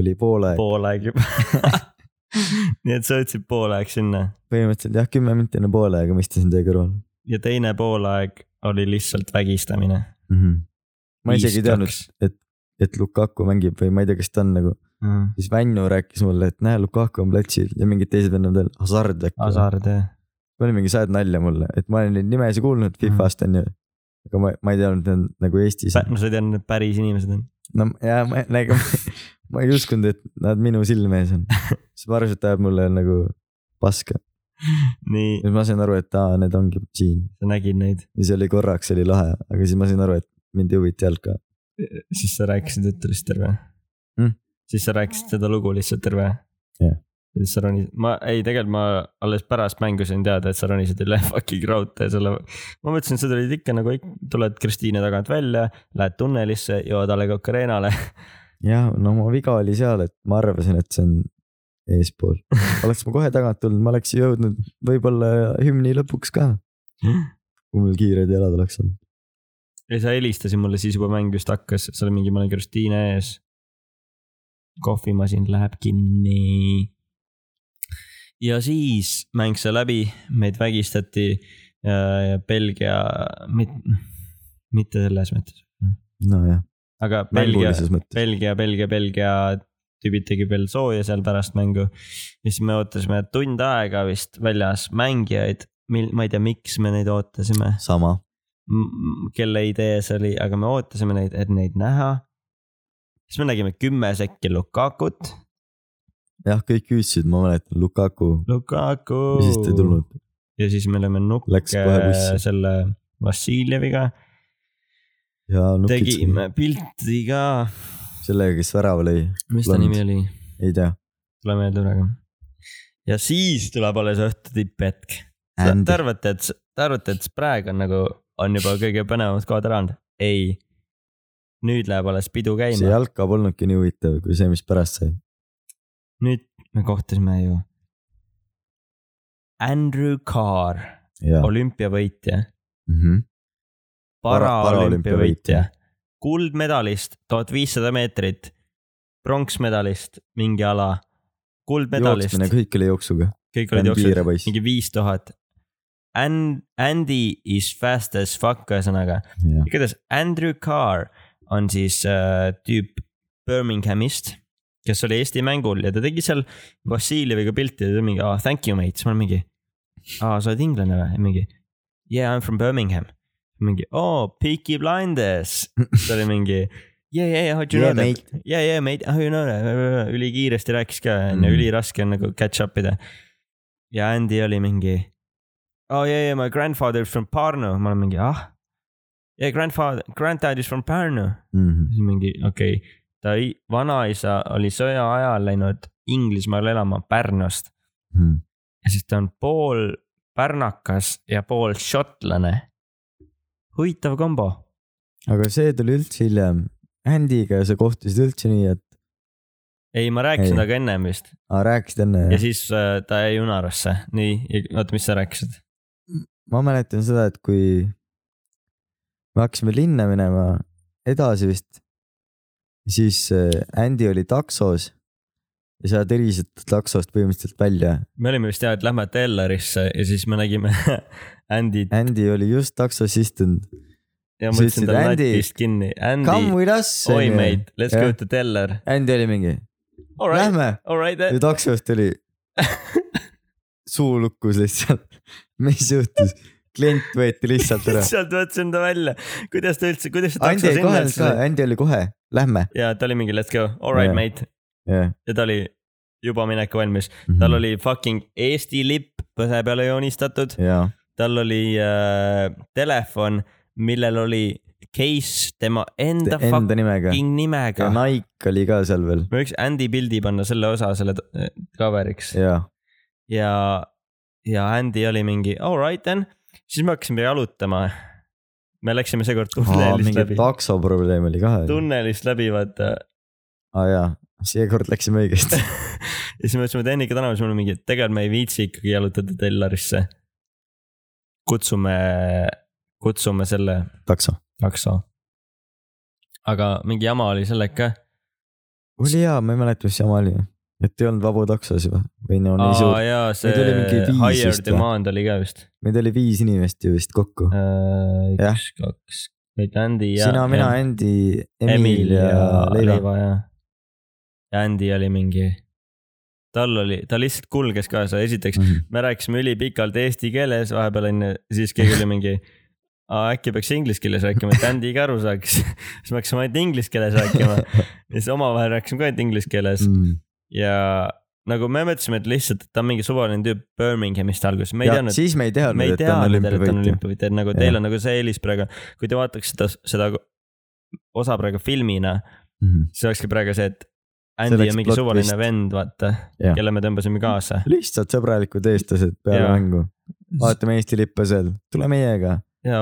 S1: oli pool aeg ,
S2: pool aeg juba . nii et sa jõudsid pool aeg sinna
S1: põhimõtteliselt jah , kümme minutit enne poole aega ma istusin teie kõrval mm .
S2: ja teine poolaeg oli lihtsalt vägistamine .
S1: -hmm. ma isegi ei teadnud ,. et Lukaku mängib või ma ei tea , kas ta on nagu ,
S2: Mm.
S1: siis Vännu rääkis mulle , et näe , Lukaku on platsil ja mingid teised vennad veel , Hasard äkki .
S2: Hasard jah .
S1: ta oli mingi sajad nalja mulle , et ma olen neid nimesid kuulnud Fifast onju , aga ma , ma ei teadnud , et nad nagu Eestis on .
S2: no sa ei teadnud , et päris inimesed on .
S1: no ja ma , nagu ma ei uskunud , et nad minu silme ees on , siis ma arvasin , et ta ajab mulle nagu paska .
S2: nii ,
S1: siis ma sain aru , et aa , need ongi siin
S2: sa nägid neid ,
S1: ja see oli korraks oli lahe , aga siis ma sain aru , et mind ei huvita jalg ka .
S2: siis sa rääkisid juttu lihtsalt terve
S1: Mm.
S2: mm. . siis sa rääkisid seda lugu lihtsalt terve
S1: Jah.
S2: ja siis sa ronisid , ma ei , tegelikult ma alles pärast mängu sain teada , et sa ronisid üle fucking raudtee selle . ma mõtlesin , sa tulid ikka nagu , tuled Kristiine tagant välja , lähed tunnelisse , jõuad A Le Coq Arena'le .
S1: ja no mu viga oli seal , et ma arvasin , et see on eespool . oleks ma kohe tagant tulnud , ma oleks jõudnud võib-olla hümni lõpuks ka , kui mul kiired jalad oleks olnud .
S2: ja sa helistasid mulle siis juba mäng just hakkas , seal oli mingi , ma olen Kristiine ees . kohvimasin läheb kinni . ja siis mäng sai läbi , meid vägistati äh, Belgia , mitte selles mõttes ,
S1: nojah ,
S2: aga Belgia ,
S1: mängulises mõttes .
S2: Belgia , Belgia , Belgia tüübid tegid veel sooja seal pärast mängu . ja siis me ootasime tund aega vist väljas mängijaid , mil- , ma ei tea , miks me neid ootasime
S1: sama ,
S2: m- kelle idee see oli , aga me ootasime neid , et neid näha . siis me nägime kümme sekki Lukakut .
S1: jah , kõik hüüdsid , ma mäletan , Lukaku
S2: Lukaku .
S1: ja siis ta ei tulnud .
S2: ja siis me olime
S1: Läks kohe bussi.
S2: nukke selle Vassiljeviga ,
S1: ja nukitsime
S2: tegime pilti ka .
S1: sellega , kes värava lõi ,
S2: mis ta
S1: Blond.
S2: nimi oli ?
S1: ei tea .
S2: tule meelde praegu . ja siis tuleb alles õhtu tipphetk .
S1: Andy.
S2: Te arvate , et , te arvate , et praegu on nagu , on juba kõige põnevamad kohad ära olnud ? ei . nüüd läheb alles pidu
S1: see
S2: käima .
S1: jalka polnudki nii huvitav kui see , mis pärast sai .
S2: nüüd me kohtusime ju . Andrew Carr ,
S1: ja
S2: olümpiavõitja ,
S1: mm -hmm. Para-
S2: paraolümpiavõitja
S1: paraolümpiavõitja. ,
S2: kuldmedalist tuhat viissada meetrit , pronksmedalist mingi ala , kuldmedalist ,
S1: jooksmine kõik oli jooksuga .
S2: kõik olid jooksnud
S1: kiire poiss .
S2: mingi viis tuhat . And- , Andy is fast as fuck , ühesõnaga , igatahes Andrew Carr on siis äh, tüüp Birminghamist , kes oli Eesti mängul ja ta tegi seal Vassiljeviga pilti ja ta oli mingi oh, , thank you mate , siis ma olen mingi . aa , sa oled inglane või ? mingi yeah I m from Birmingham . mingi oo oh, , Peaky Blinders . ta oli mingi yeah , yeah , yeah , how'd you
S1: Yeah,
S2: know that ?
S1: mate.
S2: Yeah , yeah , mate , how ah, you know that ? ülikiiresti rääkis ka , onju ,
S1: Mm.
S2: üliraske on nagu catch up ida . ja Andy oli mingi . Oh yeah , yeah , my grandfather is from Pärnu , ma olen mingi , ah . Yeah , grandfather , granddad is from Pärnu .
S1: mm .
S2: siis mingi , okei okay. , ta ei- vanaisa oli sõja ajal läinud Inglismaale elama Pärnust
S1: -hmm.
S2: ja siis ta on pool pärnakas ja pool šotlane . huvitav kombo .
S1: aga see tuli üldse hiljem . Andy'ga sa kohtusid üldse nii , et
S2: ei , ma rääkisin
S1: Ei.
S2: temaga ennem vist
S1: ah, rääkisid enne
S2: ja
S1: ja siis...
S2: siis äh, ta jäi unarasse , nii , oota , mis sa rääkisid ?
S1: ma mäletan seda , et kui me hakkasime linna minema edasi vist , siis äh, Andy oli taksos ja sa terisid taksost põhimõtteliselt välja .
S2: me olime vist jah , et lähme Tellerisse ja siis me nägime Andy't
S1: Andy oli just taksos istunud .
S2: ja
S1: Sa
S2: ma ütlesin
S1: ütlesid,
S2: talle
S1: "Andy,
S2: Lätist kinni .
S1: Come
S2: Andy ,
S1: with us .
S2: oi mate , let's
S1: Jah.
S2: go to Teller .
S1: Andy oli mingi ,
S2: Alright ,
S1: lähme
S2: alright
S1: ja
S2: then .
S1: taksost oli suu lukkus lihtsalt . mis juhtus ? klient võeti lihtsalt ära .
S2: sealt võtsin ta välja , kuidas ta üldse , kuidas ta
S1: Andy
S2: takso
S1: oli
S2: sinna
S1: kohe ,
S2: üldse
S1: Andy oli kohe , lähme .
S2: ja ta oli mingi let's go , alright
S1: Jah.
S2: yeah. mate ja ta oli juba mineku valmis , tal
S1: tal .
S2: oli fucking Eesti lipp põse peale joonistatud ,
S1: jaa ,
S2: tal oli äh, telefon , millel oli case tema enda fucking
S1: enda nimega . ja
S2: nimega .
S1: Nike oli ka seal veel .
S2: ma võiks Andy pildi panna selle osa selle t- äh, cover'iks
S1: jaa ,
S2: ja , ja Andy oli mingi alright then , siis me hakkasime jalutama . me läksime seekord tunnelist
S1: mingi
S2: läbi ,
S1: takso probleem oli ka .
S2: tunnelist läbi vaata
S1: aa jaa , seekord läksime õigesti .
S2: ja siis me ütlesime Tehnika tänavas , me olime mingi , et tegelikult me ei viitsi ikkagi jalutada Tellarisse . kutsume , kutsume selle
S1: takso .
S2: takso . aga mingi jama oli sellega ka .
S1: oli hea , ma ei mäleta , mis jama oli . et ei olnud vabu taksos juba või no nii
S2: aa
S1: suur .
S2: jaa , see
S1: oli mingi viis
S2: higher
S1: vist või?
S2: demand oli ka vist .
S1: meid oli viis inimest ju vist kokku . Jah.
S2: üks , kaks , meid Andy ja .
S1: sina , mina , Andy , Emil ja Leivo .
S2: Leiva ja . ja Andy oli mingi , tal oli , ta lihtsalt kulges kaasa , esiteks me rääkisime ülipikalt eesti keeles vahepeal onju , siis keegi oli mingi . äkki peaks inglise keeles rääkima , et Andy ka aru saaks . siis me hakkasime ainult inglise keeles rääkima ja siis omavahel rääkisime ka ainult inglise keeles ja nagu me mõtlesime , et lihtsalt , et ta on mingi suvaline tüüp Birminghamist alguses , me ei teadnud .
S1: siis me ei
S2: me
S1: teadnud ,
S2: ei
S1: et ta on
S2: teadnud , et ta on
S1: olümpiavõitja .
S2: olümpiavõitja , et nagu
S1: Jah.
S2: teil on nagu see eelis praegu , kui te vaataks seda , seda osa praegu filmina , siis olekski praegu see , et
S1: See
S2: Andy
S1: oleks
S2: on mingi
S1: plot
S2: suvaline
S1: twist.
S2: vend , vaata ,
S1: Jah.
S2: kelle me tõmbasime kaasa .
S1: lihtsalt sõbralikud eestlased peale
S2: Jaa.
S1: mängu . vaatame Eesti lippe seal , tule meiega .
S2: ja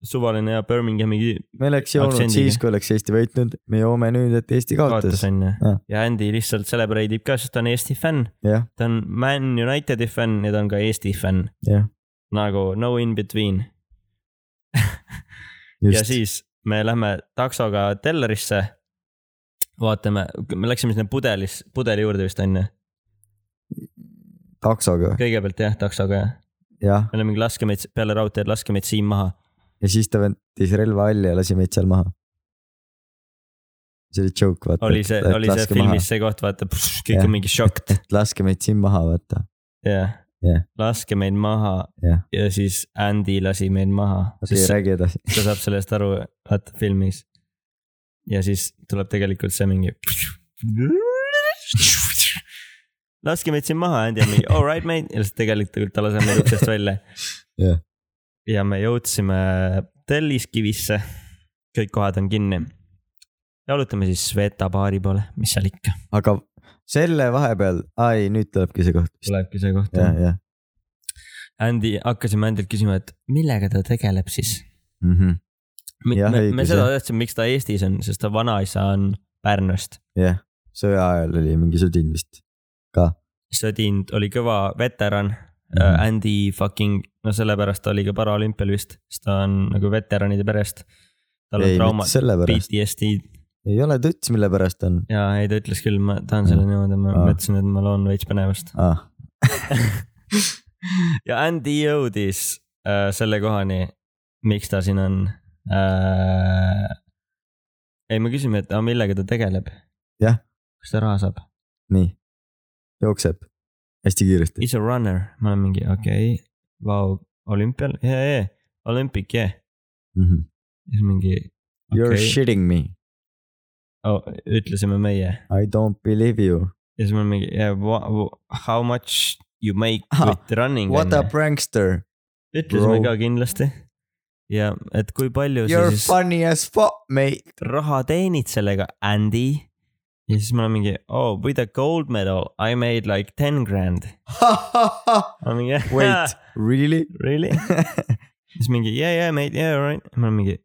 S2: suvaline ja Birminghami
S1: me oleks joonud
S2: Aktsendiga.
S1: siis , kui oleks Eesti võitnud , me joome nüüd , et Eesti kaotas
S2: kaotas . onju
S1: Jah. .
S2: ja Andy lihtsalt celebrate ib ka , sest ta on Eesti fänn .
S1: jah ,
S2: ta on Man Unitedi fänn ja ta on ka Eesti fänn .
S1: jah ,
S2: nagu no in between . ja
S1: just .
S2: siis me lähme taksoga Tellerisse . vaatame , me läksime sinna pudelis , pudeli juurde vist onju .
S1: taksoga ,
S2: kõigepealt jah , taksoga jah .
S1: jah ,
S2: me oleme mingi laske meid peale raudteed , laske meid siin maha .
S1: ja siis ta võttis relva välja ja lasi meid seal maha . see oli joke , vaata .
S2: oli see , oli see filmis . see koht , vaata , kõik
S1: Jah.
S2: on mingi šokk .
S1: laske meid siin maha , vaata .
S2: jah
S1: Jah. ,
S2: laske meid maha
S1: Jah.
S2: ja siis Andy lasi meid maha .
S1: okei , räägi edasi .
S2: ta saab sellest aru , vaata filmis . ja siis tuleb tegelikult see mingi . laske meid siin maha , Andy on mingi all right mate ja siis tegelikult ta laseb meid uksest välja
S1: Jah. .
S2: ja me jõudsime Telliskivisse . kõik kohad on kinni . jalutame siis Sveta baari poole , mis seal ikka .
S1: aga selle vahepeal , ai , nüüd tulebki see koht .
S2: tulebki see koht .
S1: jah , jah
S2: Andy , hakkasime Andylt küsima , et millega ta tegeleb siis
S1: mm . -hmm.
S2: me,
S1: Jah,
S2: me, me
S1: õigus,
S2: seda
S1: jah.
S2: teadsime , miks ta Eestis on , sest ta vanaisa on Pärnust .
S1: jah , sõja ajal oli mingi sõdin vist ka .
S2: Sõdin oli kõva veteran mm ,
S1: Mhm.
S2: -hmm. Andy fucking , no sellepärast ta oli ka paraolümpial vist , sest ta on nagu veteranide perest . tal on
S1: ei , mitte
S2: traumad ,
S1: sellepärast ,
S2: PTSD
S1: ei ole tuts , mille pärast on
S2: ja ei ta ütles küll , ma tahan selle niimoodi , ma
S1: Aa.
S2: mõtlesin , et ma loon veits põnevust .
S1: ah, .
S2: ja Andy jõudis äh, selle kohani , miks ta siin on äh, . ei , me küsime , et aga millega ta tegeleb .
S1: Jah.
S2: kas ta raha saab ?
S1: nii , jookseb hästi kiiresti .
S2: He's a runner , ma olen mingi okei okay. , vau , olümpial yeah, , yeah. olümpic , yeah .
S1: Mm -hmm.
S2: siis mingi
S1: You are
S2: okei
S1: okay.
S2: okay. ,
S1: shitting me .
S2: oh, , ütlesime meie
S1: I don't believe you .
S2: ja siis mul mingi yeah, , how much you make
S1: Ah,
S2: with running .
S1: What a prankster .
S2: ütlesime
S1: bro.
S2: ka kindlasti . ja et kui palju
S1: You
S2: sa
S1: are
S2: siis
S1: funny as fuck mate .
S2: raha teenid sellega , Andy . ja siis ma olen mingi , oh with a gold medal I made like ten grand . ma olen mingi
S1: Wait , really ?
S2: really ? siis mingi yeah , yeah mate , yeah alright . ma olen mingi .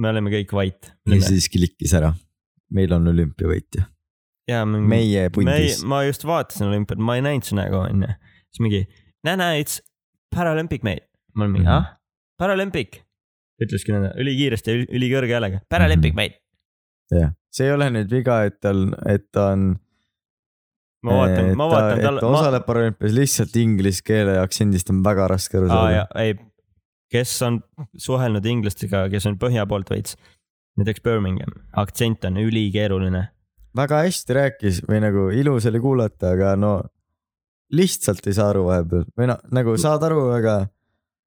S2: me oleme kõik vait .
S1: ja siis klikkis ära . meil on olümpiavõitja .
S2: ja me .
S1: meie pundis .
S2: ma just vaatasin olümpiat , ma ei näinud su nägu onju . siis mingi , näe , näe , it's paralympic mate . ma olen mingi ,
S1: Mhm.
S2: ah , paralympic . ütleski nende ülikiiresti ja üli- ülikõrge häälega , paralympic
S1: Mhm.
S2: mate .
S1: jah , see ei ole nüüd viga , et tal , et ta on .
S2: ma vaatan , ma vaatan
S1: tal . ta
S2: talle ,
S1: osaleb paralümpias , lihtsalt inglise keele aktsendist on väga raske aru
S2: ma , aa
S1: saada .
S2: Ah, jaa , ei , kes on suhelnud inglastega , kes on põhja poolt veits , näiteks Birmingham , aktsent on ülikeeruline .
S1: väga hästi rääkis või nagu ilus oli kuulata , aga no lihtsalt ei saa aru vahepeal või noh , nagu saad aru , aga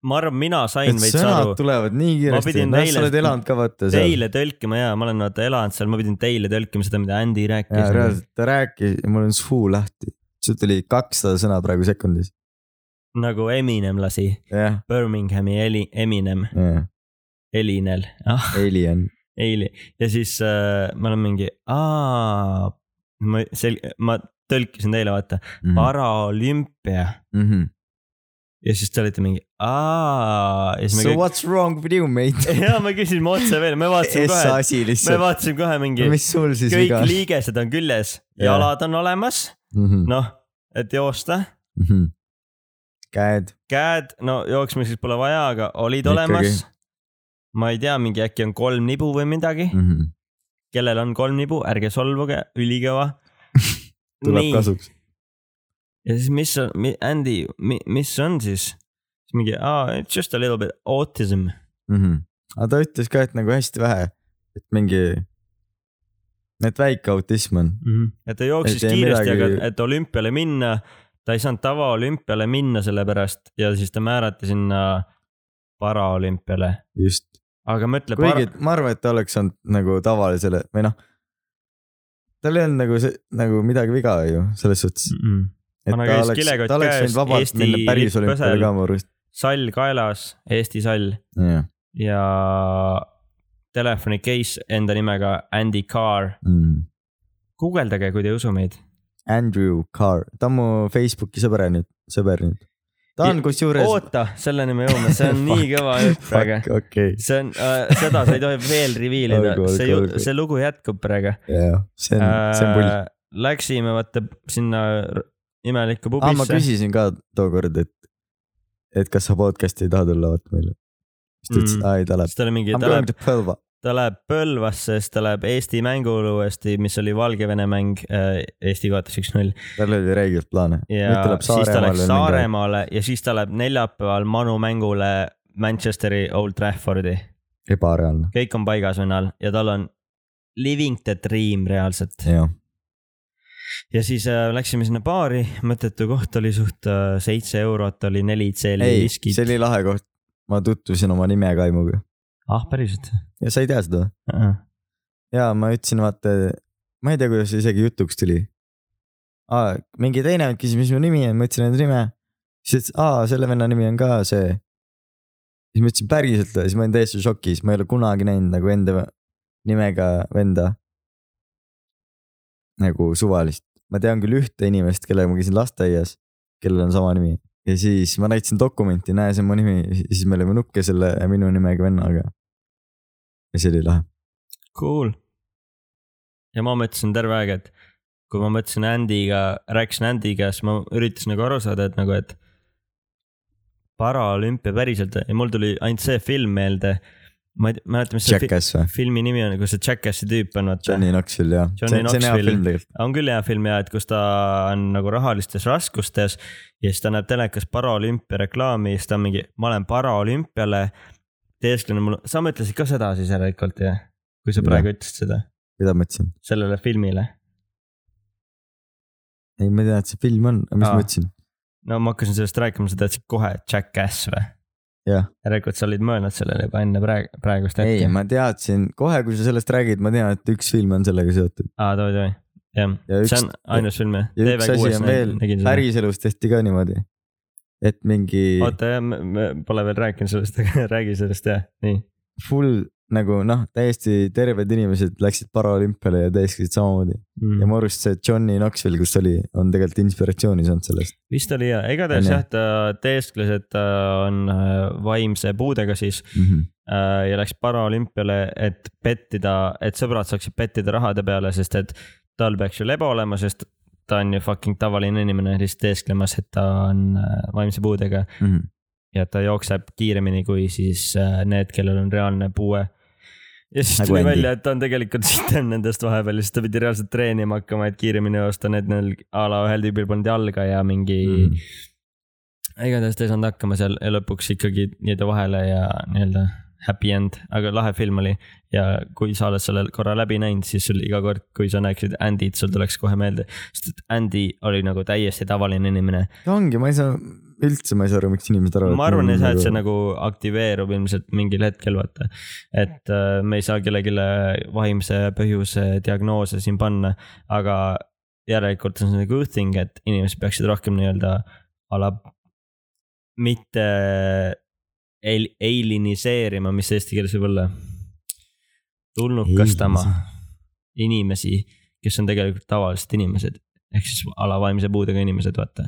S2: ma arvan , mina sain
S1: need
S2: veits
S1: sõnad
S2: aru
S1: aru. . tulevad nii kiiresti ,
S2: pidin
S1: noh
S2: neile-
S1: sa oled elanud ka vaata seal .
S2: Teile tõlkima ja ma olen vaata elanud seal , ma pidin teile tõlkima seda , mida Andy
S1: ja
S2: rääkis .
S1: reaalselt ta rääkis ja mul on suu lahti , sul tuli kakssada sõna praegu sekundis ,
S2: nagu Eminem lasi
S1: jah ,
S2: Birminghami Eli, Eminem ,
S1: jah ,
S2: Elinel ah, ,
S1: alien ,
S2: Eili ja siis äh, ma olen mingi , aa , ma sel- , ma tõlkisin teile , vaata ,
S1: Mhm. Hmm.
S2: paraolümpia ja siis te olite mingi , aa ja siis me
S1: So
S2: kõik ,
S1: what's wrong with you mate ?
S2: ja ma küsisin otse veel , me vaatasime
S1: S
S2: kohe ,
S1: asi
S2: me
S1: lihtsalt ,
S2: vaatasime kohe mingi ,
S1: mis sul siis
S2: kõik
S1: viga Mhm.
S2: liigesed on küljes ,
S1: Jaa.
S2: jalad on olemas ,
S1: on ?
S2: noh , et joosta
S1: Mhm. käed ,
S2: käed , no jooksmiseks pole vaja , aga olid
S1: Ikkagi.
S2: olemas . ma ei tea , mingi äkki on kolm nibu või midagi ,
S1: Mhm.
S2: kellel on kolm nibu , ärge solvuge , ülikõva .
S1: tuleb . kasuks .
S2: ja siis mis on , Andy , mis on siis ? siis mingi oh, , it's just a little bit autism .
S1: Mhm. aga ta ütles ka , et nagu hästi vähe , et mingi , et väike autism on .
S2: et ta jooksis
S1: Et Mhm. ei
S2: kiiresti , aga
S1: midagi-
S2: et olümpiale minna , ta ei saanud tavaolümpiale minna sellepärast ja siis ta määrati sinna paraolümpiale ,
S1: just ,
S2: aga ma ütlen .
S1: kuigi ma arvan , et ta oleks olnud nagu tavalisele või noh , tal ei olnud nagu see , nagu midagi viga ju selles suhtes .
S2: mm .
S1: et
S2: Aga
S1: ta
S2: käis
S1: oleks ,
S2: kilekott
S1: ta oleks
S2: käes,
S1: võinud vabalt
S2: Eesti
S1: minna päris
S2: lipp
S1: olümpiale
S2: põsel.
S1: ka mu arust .
S2: sall kaelas , Eesti sall
S1: jah ,
S2: ja telefoni case enda nimega Andy Carr .
S1: Mhm.
S2: guugeldage , kui te ei usu meid .
S1: Andrew Carr , ta on mu Facebooki sõber nüüd , sõber nüüd . ta on
S2: Ja-
S1: kusjuures .
S2: oota , selleni me jõuame , see on nii kõva jutt praegu .
S1: okei ,
S2: see on äh, , seda sa ei tohi veel reveal ida
S1: Olgu, , olgu,
S2: see ju-
S1: olgu.
S2: see lugu jätkub praegu .
S1: jah , see on , see on pull .
S2: Läksime vaata sinna r- imelikku
S1: aa , ma
S2: pubisse .
S1: küsisin ka tookord , et , et kas sa podcast'i ei taha tulla vaata meile . siis ta ütles ,
S2: Mm.
S1: et aa ei , ta läheb .
S2: siis ta oli mingi ,
S1: I m
S2: ta
S1: going
S2: läheb ,
S1: to Põlva .
S2: ta läheb Põlvasse , siis ta läheb Eesti mängulu uuesti , mis oli Valgevene mäng , Eesti kaotas üks-null .
S1: tal oli räigelt plaane . nüüd
S2: ja
S1: tuleb
S2: siis ta läks
S1: Saaremaale .
S2: Saaremaale ja siis ta läheb neljapäeval Manu mängule Manchesteri Old Traffordi .
S1: ebareaalne .
S2: kõik on paigas vennal ja tal on living the dream reaalselt .
S1: jah ,
S2: ja siis äh, läksime sinna baari , mõttetu koht oli suht äh, seitse eurot , oli neli tseeli
S1: ei ,
S2: viskit
S1: see . oli lahe koht . ma tutvusin oma nime Kaimuga
S2: ah , päriselt
S1: ja sa ei tea seda või ?
S2: uh ?
S1: ja ma ütlesin , vaata , ma ei tea , kuidas see isegi jutuks tuli . aa , mingi teine küsis , mis mu nimi on , ma ütlesin enda nime . siis ütles , aa , selle venna nimi on ka see . siis ma ütlesin päriselt või , siis ma olin täiesti šokis , ma ei ole kunagi näinud nagu enda nimega venda . nagu suvalist , ma tean küll ühte inimest , kellega ma käisin lasteaias , kellel on sama nimi ja siis ma näitasin dokumenti , näe , see on mu nimi , siis me olime nukke selle minu nimega vennaga . ja see oli lahe .
S2: Cool . ja ma mõtlesin terve aeg , et kui ma mõtlesin Andy'ga , rääkisin Andy'ga , siis ma üritasin nagu aru saada , et nagu , et paraolümpia päriselt ja mul tuli ainult see film meelde . ma ei tea- mäleta , mis see fi
S1: Jackass või ?
S2: filmi nimi on , kus see Jackassi tüüp on , vaata .
S1: Johnny Knoxville jah .
S2: Johnny Knoxville.
S1: tegelikult .
S2: on küll hea film ja , et kus ta on nagu rahalistes raskustes ja siis ta näeb telekas paraolümpia reklaami ja siis ta on mingi , ma olen paraolümpiale teesklenud , mul , sa mõtlesid ka seda siis järelikult jah ? kui sa praegu ütlesid seda ,
S1: mida ma ütlesin ?
S2: sellele filmile .
S1: ei , ma tean , et see film on , aga mis
S2: Aa.
S1: ma ütlesin ?
S2: no ma hakkasin sellest rääkima , sa teadsid kohe Jackass või ?
S1: Jah.
S2: järelikult sa olid mõelnud sellele juba enne praegu , praegust
S1: ei ,
S2: hetke .
S1: ma teadsin , kohe kui sa sellest räägid , ma tean , et üks film on sellega seotud .
S2: aa , too , too , jah .
S1: Ja üks-
S2: see on ainus film jah .
S1: ja üks asi on veel , päriselus tehti ka niimoodi , et mingi
S2: oota jah , me pole veel rääkinud sellest , aga räägi sellest jah , nii .
S1: full nagu noh , täiesti terved inimesed läksid paraolümpiale ja täiskasid samamoodi
S2: Mm.
S1: ja mu arust see Johnny Knoxville , kus oli , on tegelikult inspiratsiooni saanud sellest .
S2: vist oli hea , igatahes
S1: On, jah.
S2: jah , ta teeskles , et ta on äh, vaimse puudega siis
S1: Mhm.
S2: äh, ja läks paraolümpiale , et pettida , et sõbrad saaksid pettida rahade peale , sest et tal peaks ju lebo olema , sest ta on ju fucking tavaline inimene lihtsalt teesklemas , et ta on äh, vaimse puudega ja ta jookseb kiiremini kui siis äh, need , kellel on reaalne puue . ja siis
S1: Nagu
S2: tuli
S1: Andy.
S2: välja , et ta on tegelikult sitem nendest vahepeal , siis ta pidi reaalselt treenima hakkama , et kiiremini joosta , need neil a la ühel tüübil polnud jalga ja mingi mm.
S1: Mhm.
S2: igatahes ta ei saanud hakkama seal ja lõpuks ikkagi nii-öelda vahele ja nii-öelda happy end , aga lahe film oli . ja kui sa oled selle korra läbi näinud , siis sul iga kord , kui sa näeksid Andy't , sul tuleks kohe meelde , sest et Andy oli nagu täiesti tavaline inimene .
S1: ongi , ma ei saa , üldse ma ei saa aru , miks inimesed arvavad .
S2: ma arvan , et see , et see . nagu aktiveerub ilmselt mingil hetkel , vaata . et äh, me ei saa kellelegi vaimse põhjuse diagnoose siin panna , aga järelikult on see nagu good thing , et inimesed peaksid rohkem nii-öelda a la mitte el- , aliniseerima , mis eesti keeles võib olla . tulnukastama inimesi , kes on tegelikult tavalised inimesed , ehk siis a la vaimse puudega inimesed , vaata .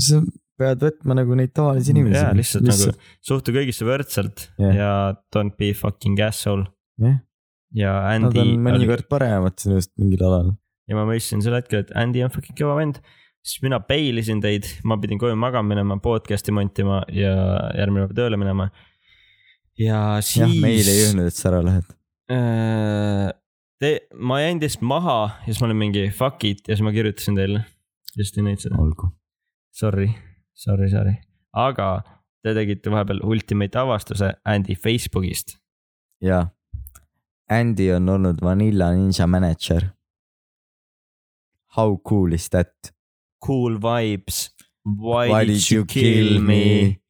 S1: sa pead võtma nagu neid tavalisi inimesi .
S2: jaa , lihtsalt nagu . suhtu kõigisse võrdselt
S1: Jah.
S2: yeah. ja don't be fucking asshole
S1: Jah. .
S2: ja
S1: Nad
S2: Andy
S1: on , mõnikord paremad sinust mingil alal .
S2: ja ma mõistsin sel hetkel , et Andy on fucking kõva vend . siis mina peilisin teid , ma pidin koju magama minema , podcast'i montima ja järgmine päev tööle minema . ja
S1: jah , meil ei
S2: siis .
S1: öelnud , et sa ära lähed .
S2: Te , ma jäin teist maha ja siis ma olin mingi fuck it ja siis ma kirjutasin teile . just ei näinud seda .
S1: olgu .
S2: Sorry , sorry , sorry , aga te tegite vahepeal ultimate avastuse Andy Facebookist .
S1: jaa . Andy on olnud Vanilla Ninja mänedžer . How cool is that ?
S2: Cool vibes . Why, Why did you kill me ??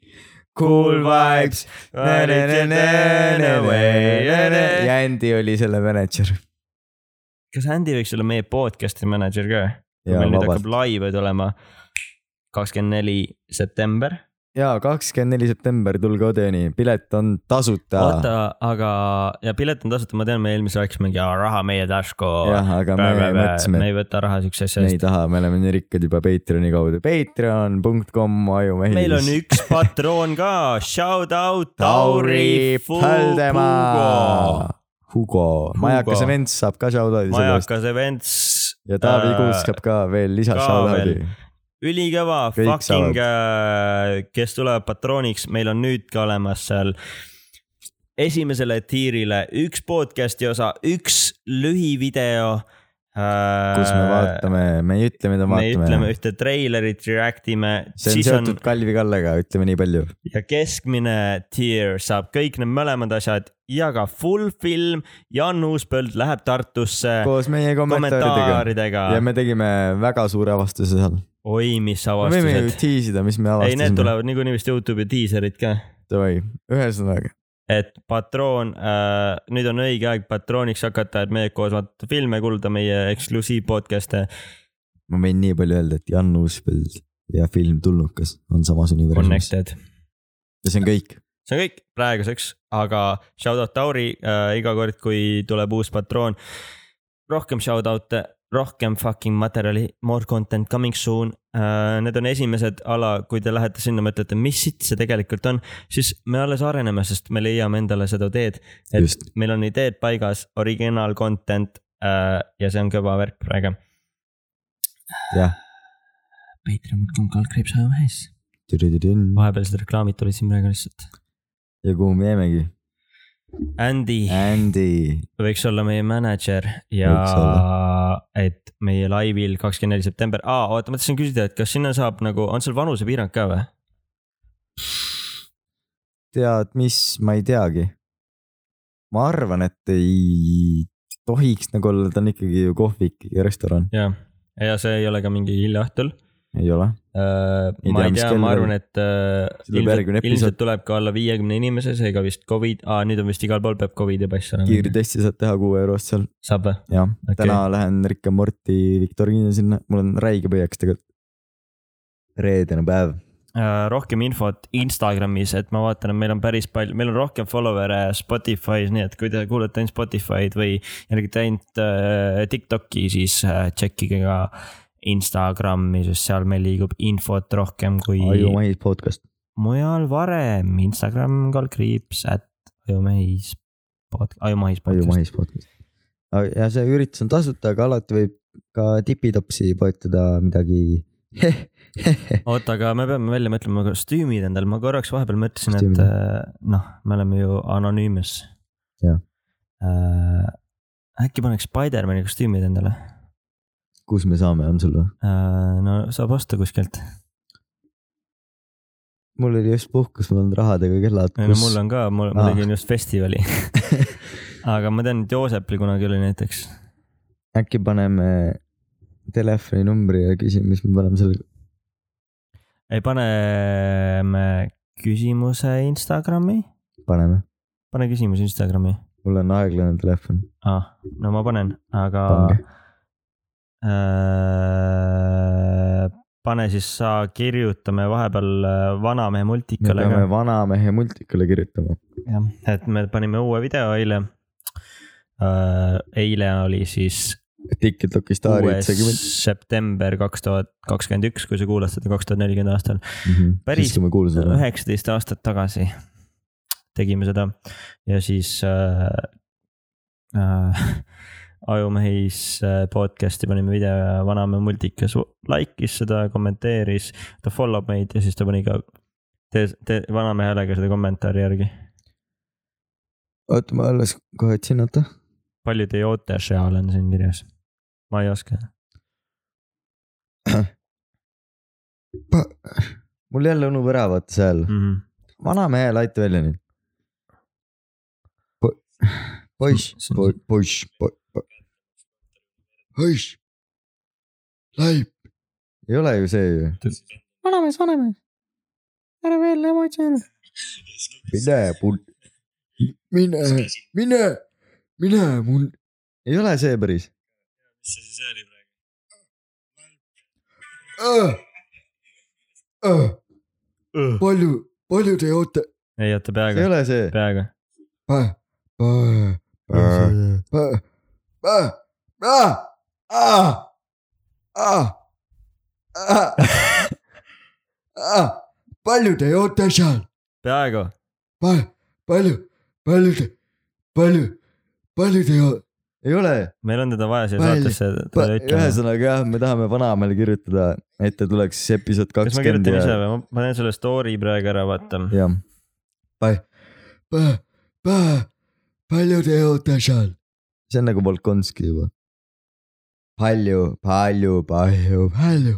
S1: Cool vibes .
S2: Why did you turn away?
S1: ja Andy oli selle mänedžer .
S2: kas Andy võiks olla meie podcast'i mänedžer ka ?
S1: ja
S2: meil nüüd
S1: vabalt
S2: hakkab . laive tulema kakskümmend neli september .
S1: ja kakskümmend neli september , tulge Odeoni , pilet on tasuta .
S2: oota , aga , ja pilet on tasuta , ma tean , me eelmisel rääkisime , raha meie tasku .
S1: jah , aga me mõtlesime ,
S2: me ei võta raha siukse
S1: et
S2: asja
S1: me
S2: eest
S1: ei . taha , me oleme nii rikkad juba Patreoni kaudu . Patreon.com ajumehis .
S2: meil on üks patroon ka , shout out Tauri Põldemaa
S1: Põldemaa .. Hugo , majakas Vents saab ka shout-out'i selle eest
S2: majakas events .
S1: ja Taavi Kuusk saab ka veel lisa
S2: Äh, ka
S1: shout-out'i .
S2: ülikõva ,
S1: Kõik
S2: fucking , kes tuleb patrooniks , meil on nüüd ka olemas seal esimesele tiirile üks podcast'i osa , üks lühivideo .
S1: kus
S2: kus
S1: me vaatame , me ei ütle , mida
S2: Äh, me ütleme
S1: vaatame .
S2: ühte treilerit , react ime ,
S1: see on
S2: siis on
S1: seotud Kalvi Kallega , ütleme nii palju .
S2: ja keskmine tier saab kõik need mõlemad asjad ja ka full film . Jan Uuspõld läheb Tartusse
S1: koos meie kommentaaridega .
S2: kommentaaridega .
S1: ja me tegime väga suure avastuse seal .
S2: oi , mis
S1: me võime ju
S2: avastused .
S1: tease ida , mis me
S2: ei , need
S1: avastasime .
S2: tulevad niikuinii vist Youtube'i diiserid ka
S1: Davai , ühesõnaga ,
S2: et patroon äh, , nüüd on õige aeg patrooniks hakata , et meie koos vaadata filme , kuulda meie eksklusiivpodcast'e .
S1: ma võin nii palju öelda , et Jan Uuspõld ja film Tulnukas on samas universumis
S2: Connected ,
S1: ja see on kõik .
S2: see on kõik praeguseks , aga shout out Tauri äh, iga kord , kui tuleb uus patroon . rohkem shout out'e , rohkem fucking materjali , more content coming soon äh, . Need on esimesed ala , kui te lähete sinna , mõtlete , mis sitt see tegelikult on , siis me alles areneme , sest me leiame endale seda teed , et
S1: just ,
S2: meil on ideed paigas , originaal content äh, ja see on kõva värk praegu .
S1: jah .
S2: Patreon.com kaldkriips ajamehis .
S1: ja
S2: vahepealsed reklaamid tulid siin praegu lihtsalt .
S1: kuhu me jäimegi ?
S2: Andy
S1: Andy ,
S2: võiks olla meie mänedžer ja
S1: Võiks olla.
S2: et meie laivil kakskümmend neli september , aa oota , ma tahtsin küsida , et kas sinna saab nagu , on seal vanusepiirang ka või ?
S1: tead mis , ma ei teagi . ma arvan , et ei tohiks nagu olla , ta on ikkagi ju kohvik ja restoran
S2: jaa , ja see ei ole ka mingi hilja õhtul Äh,
S1: ei ole .
S2: Mm.
S1: Ei
S2: ma
S1: tea,
S2: ei
S1: mis
S2: tea ,
S1: kell
S2: ma
S1: veel.
S2: arvan , et äh,
S1: tuleb järgmine
S2: ilmselt,
S1: episood.
S2: ilmselt tuleb ka alla viiekümne inimese , seega vist Covid , aa nüüd on vist igal pool peab Covidi pass olema .
S1: kiirtesti saad teha kuue eurost seal ,
S2: saab või ?
S1: jah
S2: Okei.
S1: okay. . täna lähen Rick and Morty viktoriini sinna , mul on räige põieks tegelikult . reedene päev .
S2: Äh, rohkem infot Instagramis , et ma vaatan , et meil on päris palju , meil on rohkem follower'e Spotify's , nii et kui te kuulate ainult Spotify'd või jälgite ainult äh, TikTok'i , siis äh, tšekkige ka Instagrami , sest seal meil liigub infot rohkem kui
S1: ajumahis podcast .
S2: mujal varem . Instagram kaldkriips , at ajumehis , ajumahis .
S1: ajumahis podcast . ja see üritus on tasuta , aga alati võib ka tipitopsi poetada midagi
S2: oota , aga me peame välja mõtlema kostüümid endal , ma korraks vahepeal mõtlesin , et
S1: Kostüümid.
S2: äh, noh , me oleme ju anonüümis .
S1: Jah. .
S2: äkki paneks Spider-man'i kostüümid endale
S1: kus me saame , on sul või ?
S2: äh, ? no saab osta kuskilt .
S1: mul oli just puhkus , mul on rahadega kellad ,
S2: ei no
S1: kus Ah.
S2: mul on ka , mul , ma
S1: Aa.
S2: tegin just festivali . aga ma tean , et Joosepil kunagi oli näiteks .
S1: äkki paneme telefoninumbri ja küsime , mis me paneme selle ,
S2: ei , paneme küsimuse Instagrami ,
S1: paneme .
S2: pane küsimus Instagrami
S1: mul on aeglane telefon .
S2: ah, . no ma panen , aga
S1: Pange. .
S2: äh, pane siis sa , kirjutame vahepeal äh, vanamehe
S1: me
S2: multikale
S1: peame
S2: ka ,
S1: vanamehe multikule kirjutama .
S2: et me panime uue video eile . eile oli siis
S1: TikToki staarid
S2: kuues
S1: segment .
S2: september kaks tuhat kakskümmend üks , kui sa kuulad seda kaks tuhat nelikümmend aastal ,
S1: Mhm.
S2: päris Äh,
S1: siis , kui me kuulsime seda .
S2: üheksateist aastat tagasi tegime seda ja siis äh, äh, ajumehis äh, podcast'i panime video ja vanamehe multikas like'is seda , kommenteeris , ta follow meid ja siis ta pani ka , tee , tee vanamehe häälega seda kommentaari järgi .
S1: oota , ma alles kohe otsin , oota .
S2: palju teie ooteseal on siin kirjas ? ma ei oska .
S1: mul jälle unub ära , vaata see hääl .
S2: Mm.
S1: vanamehel aita välja nüüd . poiss
S2: See on- ,
S1: poiss , poiss . Laip . ei ole ju see ju . vanamees , vanamees . ära veel emotsioone . mine mul . mine , mine , mine mul . ei ole see päris .
S2: mis see siis oli praegu ?
S1: uh, palju , palju uh, te oote ?
S2: ei oota ,
S1: see ei
S2: peaaegu ,
S1: ole see .
S2: peaaegu .
S1: Pä- pä- pä- pä- pä- pä- ah! Ah! Ah! Ah! palju te joote seal ?
S2: peaaegu .
S1: palju , palju te , palju , palju te joo- ? ei ole ,
S2: meil on teda vaja siia
S1: Välja.
S2: saatesse .
S1: ühesõnaga jah , me tahame vanamehele kirjutada , et ta tuleks episood
S2: kas ma kirjutan ise
S1: kakskümmend
S2: või ? ma panen selle story praegu ära , vaata .
S1: ja .
S3: palju te jõuate seal ?
S1: see on nagu Volkonski juba . palju , palju , palju , palju ,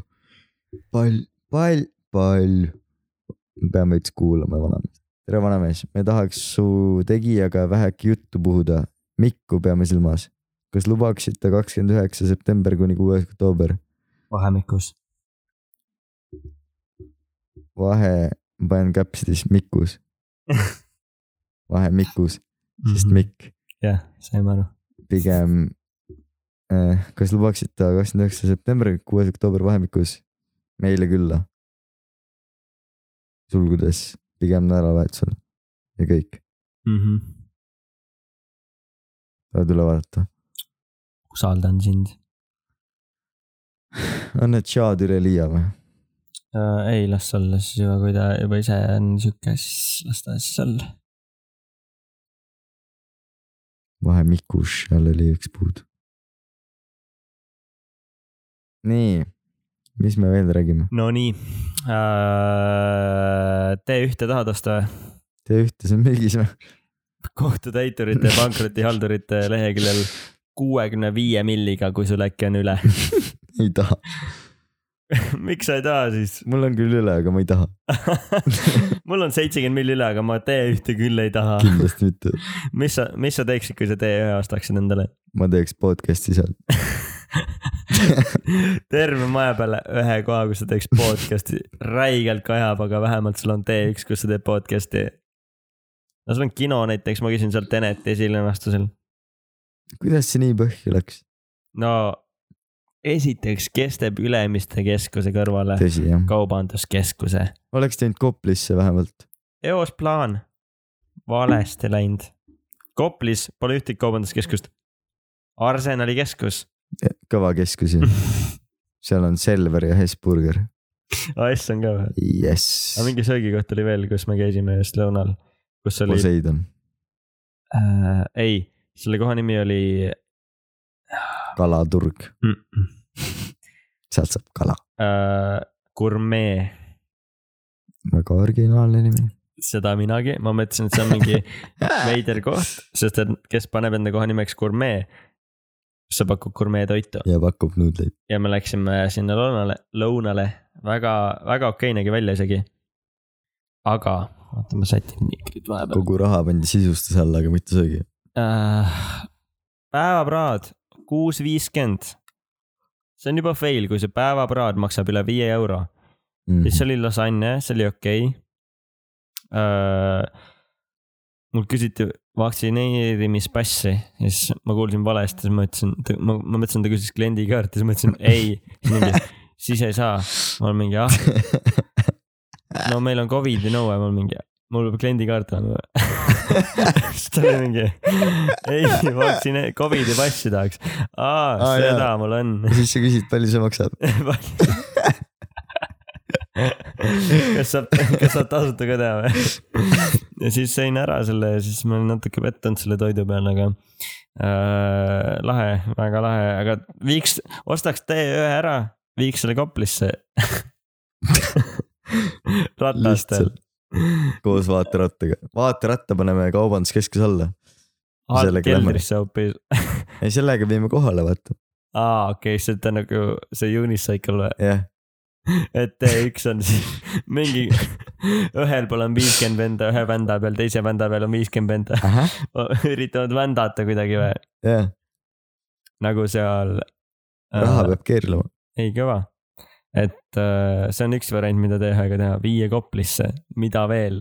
S1: palju , palju , palju . me peame veits kuulama vanameest . tere , vanamees , me tahaks su tegijaga väheke juttu puhuda . Mikku peame silmas . kas lubaksite kakskümmend üheksa september kuni kuues oktoober
S2: vahemikus .
S1: vahe , ma panen käpsidis Mikus . vahe Mikus , sest . Mikk
S2: jah , saime aru .
S1: pigem . kas lubaksite kakskümmend üheksa september , kuues oktoober vahemikus meile külla ? sulgudes pigem nädalavahetusel ja kõik ,
S2: Mhm.
S1: tuleb üle vaadata .
S2: usaldan sind .
S1: on need šaad üle liia või ?
S2: Äh, ei , las olla siis juba , kui ta juba ise on sihuke , siis las ta siis olla .
S1: vahemikus , seal oli üks puud . nii , mis me veel räägime ?
S2: Nonii . Äh, tee ühte tahad osta või ?
S1: tee ühte , see on müügis või ?
S2: kohtutäiturite ja pankrotihaldurite leheküljel kuuekümne viie milliga , kui sul äkki on üle .
S1: ei taha ,
S2: miks sa ei taha siis ?
S1: mul on küll üle , aga ma ei taha ,
S2: mul on seitsekümmend milli üle , aga ma tee ühte küll ei taha .
S1: kindlasti mitte .
S2: mis sa , mis sa teeksid , kui sa tee ühe ostaksid endale ?
S1: ma teeks podcast'i seal .
S2: terve maja peale ühe koha , kus sa teeks podcast'i , räigelt kajab , aga vähemalt sul on T1 , kus sa teed podcast'i . no sul on kino näiteks , ma käisin seal Teneti esilinastusel .
S1: kuidas see nii põhju läks ?
S2: no esiteks , kes teeb Ülemiste keskuse kõrvale
S1: tõsi jah ,
S2: kaubanduskeskuse ?
S1: oleks teinud Koplisse vähemalt .
S2: eos plaan , valesti läinud . Koplis pole ühtegi kaubanduskeskust . Arsenali keskus ,
S1: kõva keskus ju . seal on Selver ja Hesburger .
S2: AS on ka või ?
S1: jess
S2: aga , mingi söögikoht oli veel , kus me käisime just lõunal , kus oli ,
S1: Poseidon ,
S2: äh, ei , selle koha nimi oli
S1: kalaturg ,
S2: mm,
S1: sealt saab kala .
S2: äh, Gourmet ,
S1: väga originaalne nimi .
S2: seda minagi , ma mõtlesin , et see on mingi veider koht , sest et kes paneb enda koha nimeks Gourmet , see pakub Gourmet toitu
S1: ja pakub nuudleid .
S2: ja me läksime sinna lõunale , lõunale väga , väga okei nägi välja isegi . aga , oota , ma sätin mikrit vahepeal .
S1: kogu raha pandi sisustuse alla , aga mitte söögi .
S2: äh, . päevapraad kuus viiskümmend . see on juba fail , kui see päevapraad maksab üle viie euro mm. ,
S1: Mhm.
S2: siis oli lasanje , see oli okei okay. äh, . mul küsiti vaktsineerimispassi ja siis ma kuulsin valesti , siis ma ütlesin , ma , ma mõtlesin , ta küsis kliendikaarti , siis ma ütlesin ei , siis ei saa . ma olen mingi ah , no meil on Covidi nõue , ma olen mingi , mul peab kliendikaart olema . siis ta oli mingi , ei vaktsine- , Covidi passi tahaks . aa
S1: Aa, ,
S2: seda
S1: jaa.
S2: mul on .
S1: siis sa küsid , palju see maksab .
S2: kas saab , kas saab tasuta ka teha või ? ja siis sain ära selle ja siis ma olin natuke pettunud selle toidu peale , aga äh, lahe , väga lahe , aga viiks , ostaks tee ühe ära , viiks selle Koplisse . ratastel .
S1: lihtsalt koos vaaterattaga , vaateratta paneme kaubanduskeskuse alla .
S2: alt
S1: sellega lähme.
S2: keldrisse hoopis .
S1: ei , sellega viime kohale , vaata ,
S2: aa , okei , see on nagu see unicycle või ?
S1: jah .
S2: et T1 on siis mingi , ühel pool on viiskümmend venda ühe vända peal , teise vända peal on viiskümmend venda . üritavad vändata kuidagi või ?
S1: jah ,
S2: nagu seal .
S1: raha . peab keerlema .
S2: ei , kõva . et äh, see on üks variant , mida T1-ga teha , viia Koplisse , mida veel ?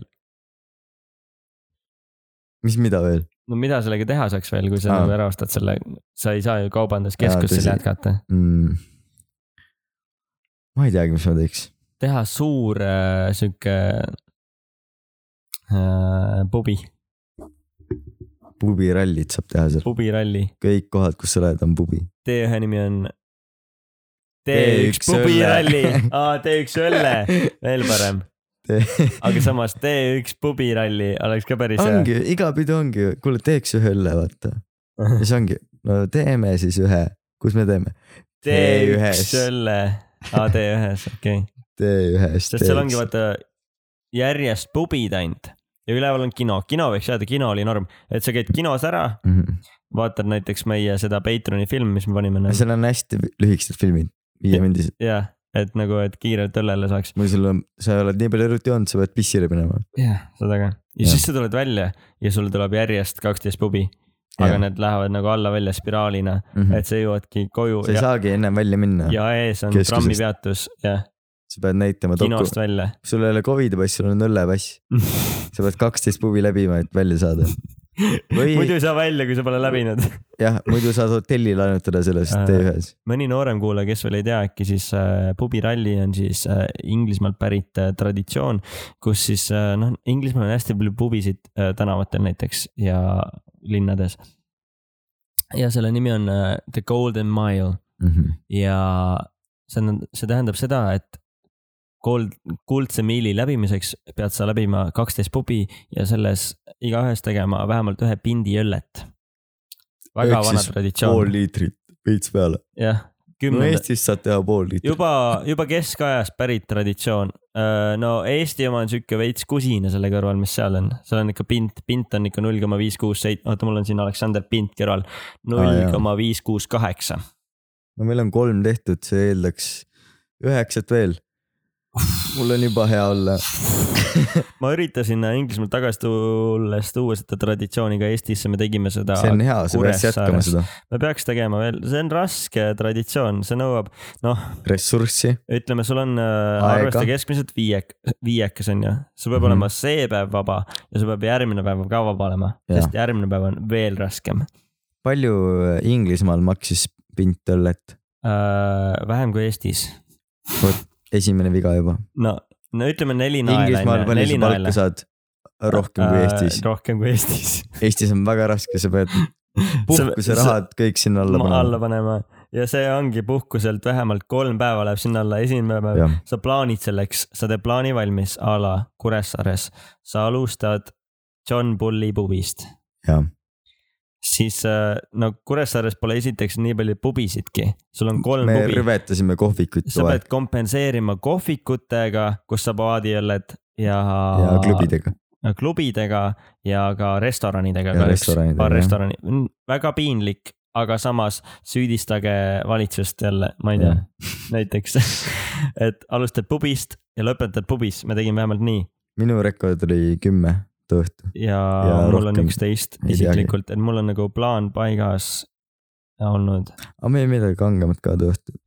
S1: mis , mida veel ?
S2: no mida sellega teha saaks veel , kui sa
S1: Aa.
S2: nagu ära ostad selle , sa ei saa ju kaubanduskeskusel
S1: tõsi.
S2: jätkata .
S1: mm. . ma ei teagi , mis ma teeks .
S2: teha suur äh, sihuke äh, pubi ,
S1: pubirallit saab teha seal ,
S2: pubiralli .
S1: kõik kohad , kus sa lähed , on pubi .
S2: T1 nimi on .
S1: T1
S2: T1 pubiralli
S1: õlle. ,
S2: T1 õlle , veel parem . aga samas T1 pubiralli oleks ka päris hea .
S1: ongi , iga pidu ongi , kuule , teeks ühe õlle , vaata . ja siis ongi , no teeme siis ühe , kus me teeme ?
S2: T1 õlle , T1-s , okei .
S1: tee ühes .
S2: sest seal ongi vaata järjest pubid ainult ja üleval on kino , kino võiks jääda , kino oli norm , et sa käid kinos ära ,
S1: mm . -hmm.
S2: vaatad näiteks meie seda Patreon'i filmi , mis me panime nagu
S1: seal on hästi lühikesed filmid , viiemindised .
S2: ja et nagu , et kiirelt õllele saaks .
S1: mul sul on , sa oled nii palju eriti olnud , sa pead pissile minema .
S2: jah , seda ka . ja
S1: Jah.
S2: siis sa tuled välja ja sul tuleb järjest kaksteist pubi . aga
S1: Jah.
S2: need lähevad nagu alla välja spiraalina ,
S1: sa
S2: et Mhm. sa jõuadki koju
S1: Mhm. ei
S2: ja ,
S1: saagi ennem välja minna ,
S2: ja ees on
S1: keskusest.
S2: trammipeatus , jah ,
S1: sa pead näitama doku-
S2: kinost , välja .
S1: sul ei ole Covidi pass , sul on õllepass . sa pead kaksteist pubi läbima , et välja saada . Või-
S2: muidu ei saa välja , kui sa pole läbinud .
S1: jah , muidu saad hotelli laenutada sellest
S2: Äh.
S1: T1-s .
S2: mõni noorem kuulaja , kes veel ei tea , äkki siis äh, pubiralli on siis äh, Inglismaalt pärit äh, traditsioon , kus siis äh, noh , Inglismaal on hästi palju pubisid äh, tänavatel näiteks ja linnades . ja selle nimi on äh, The Golden Mile
S1: Mhm.
S2: ja see on , see tähendab seda , et kold , kuldse miili läbimiseks pead sa läbima kaksteist pubi ja selles igaühes tegema vähemalt ühe pindi õllet . väga
S1: Ehk
S2: vana
S1: siis pool
S2: traditsioon ,
S1: liitrit veits peale .
S2: jah .
S1: no
S2: kümnenda ,
S1: Eestis saad teha pool liitrit .
S2: juba , juba keskajast pärit traditsioon . no Eesti oma on sihuke veits kusine selle kõrval , mis seal on , seal on ikka pint , pint on ikka null koma viis kuus seit- , oota , mul on siin Aleksander Pint kõrval , null
S1: jaa.
S2: koma viis kuus kaheksa .
S1: no meil on kolm tehtud , see eeldaks üheksat veel . mul on juba hea olla .
S2: ma üritasin Inglismaalt tagasi tulles tuua seda traditsiooni ka Eestisse , me tegime seda .
S1: see on hea , sa peaks jätkama seda
S2: me peaks tegema veel , see on raske traditsioon , see nõuab , noh ,
S1: ressurssi .
S2: ütleme , sul on
S1: Aega.
S2: äh, arvesta keskmiselt viiek- , viiekas on ju , sul peab
S1: Mhm.
S2: mm -hmm. olema see päev vaba ja sul peab järgmine päev ka vaba olema ,
S1: Jah.
S2: sest järgmine päev on veel raskem
S1: palju äh, Inglismaal maksis pint õllet ?
S2: äh, . vähem kui Eestis ,
S1: esimene viga juba .
S2: no , no ütleme neli naela
S1: Inglismaal , palju
S2: neli
S1: sa palka
S2: naela .
S1: saad ? rohkem kui Eestis .
S2: rohkem kui Eestis .
S1: Eestis on väga raske , sa pead puhkuserahad kõik sinna alla
S2: alla, alla
S1: panema .
S2: panema ja see ongi puhkuselt vähemalt kolm päeva läheb sinna alla , esimene päev ,
S1: jah ,
S2: sa plaanid selleks , sa teed plaani valmis a la Kuressaares , sa alustad John Bulli pubist ,
S1: jah ,
S2: siis äh, no Kuressaares pole esiteks nii palju pubisidki , sul on kolm
S1: me
S2: pubi ,
S1: rõvetasime kohvikut
S2: sa
S1: kogu aeg
S2: pead kompenseerima kohvikutega , kus sa paadiõlled ja,
S1: ja klubidega .
S2: klubidega ja ka restoranidega
S1: Ja . restoranidega,
S2: paar
S1: jah.
S2: restorani , väga piinlik , aga samas süüdistage valitsust jälle , ma ei tea , näiteks , et alustad pubist ja lõpetad pubis , me tegime vähemalt nii
S1: minu rekord oli kümme too õhtu .
S2: ja, ja
S1: Ja
S2: mul on
S1: rohkem
S2: üksteist
S1: ei teagi.
S2: isiklikult , et mul on nagu plaan paigas olnud .
S1: aga meil midagi kangemat ka too õhtu .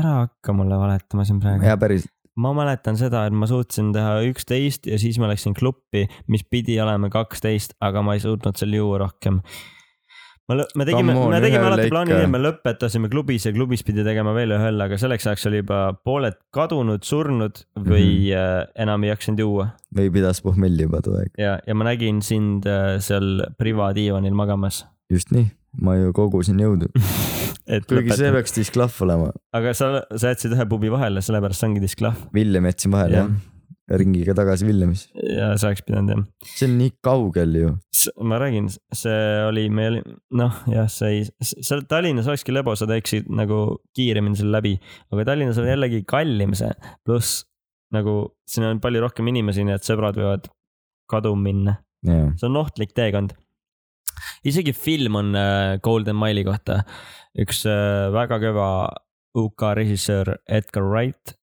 S2: ära hakka mulle valetama siin praegu .
S1: ja päris ,
S2: ma mäletan seda , et ma suutsin teha üksteist ja siis ma läksin kluppi , mis pidi olema kaksteist , aga ma ei suutnud seal juua rohkem . ma , me tegime ,
S1: Come on,
S2: me tegime
S1: ühele
S2: alati
S1: ikka.
S2: plaani , et me lõpetasime klubis ja klubis pidi tegema veel ühe õlle , aga selleks ajaks oli juba pooled kadunud , surnud või mm
S1: Mhm.
S2: -hmm. enam ei jaksanud juua
S1: või pidas pohmelli juba too aeg .
S2: ja , ja ma nägin sind äh, seal privadiivanil magamas .
S1: just nii , ma ju kogusin jõudu .
S2: et
S1: kuigi see
S2: lõpeta ,
S1: peaks disklahv olema .
S2: aga sa , sa jätsid ühe pubi vahele , sellepärast see ongi disklahv
S1: Villem jätsin vahele
S2: Jah.
S1: jah , ringiga tagasi Villemis .
S2: ja sa oleks pidanud jah .
S1: see on nii kaugel ju .
S2: ma räägin , see oli , me oli , noh jah , see ei , seal Tallinnas olekski lebo , sa teeksid nagu kiiremini selle läbi , aga Tallinnas on jällegi kallim see , pluss nagu siin on palju rohkem inimesi , nii et sõbrad võivad kaduma minna ,
S1: jaa ,
S2: see on ohtlik teekond . isegi film on äh, Golden Mile'i kohta , üks äh, väga kõva UK režissöör Edgar Wright ,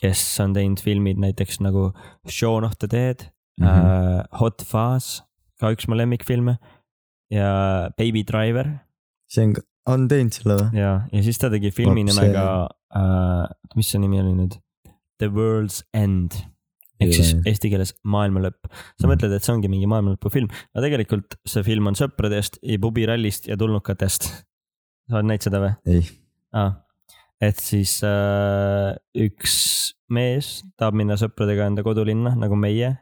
S2: kes on teinud filmid näiteks nagu Shaun of the Dead mm ,
S1: Mhm.
S2: -hmm. uh, Hot Fuzz , ka üks mu lemmikfilme ja Baby Driver
S1: see on , on teinud selle või ?
S2: ja , ja siis ta tegi filmi
S1: Vot see-
S2: nimega uh, , mis see nimi oli nüüd , The World's End ehk siis
S1: Jaa.
S2: eesti keeles maailma lõpp . sa
S1: Mhm.
S2: mõtled , et see ongi mingi maailma lõpu film , aga tegelikult see film on sõpradest ja pubirallist ja tulnukatest . sa oled näinud seda või ?
S1: ei ,
S2: ah, . et siis äh, üks mees tahab minna sõpradega enda kodulinna nagu meie ,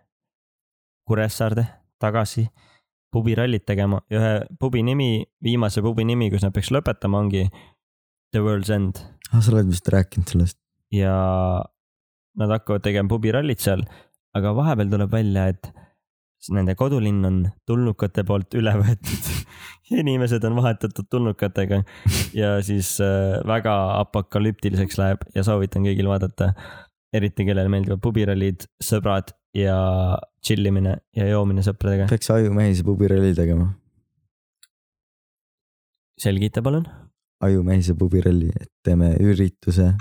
S2: Kuressaarde , tagasi pubirallit tegema ja ühe pubi nimi , viimase pubi nimi , kus nad peaks lõpetama , ongi The World's End
S1: Ah, sa oled vist rääkinud sellest .
S2: ja nad hakkavad tegema pubirallit seal , aga vahepeal tuleb välja , et s- nende kodulinn on tulnukate poolt üle võetud ja inimesed on vahetatud tulnukatega ja siis äh, väga apokalüptiliseks läheb ja soovitan kõigil vaadata , eriti kellele meeldivad pubirallid , sõbrad ja tšillimine ja joomine sõpradega .
S1: peaks ajumehise pubiralli tegema ,
S2: selgita palun .
S1: ajumehise pubiralli , et teeme ürituse ,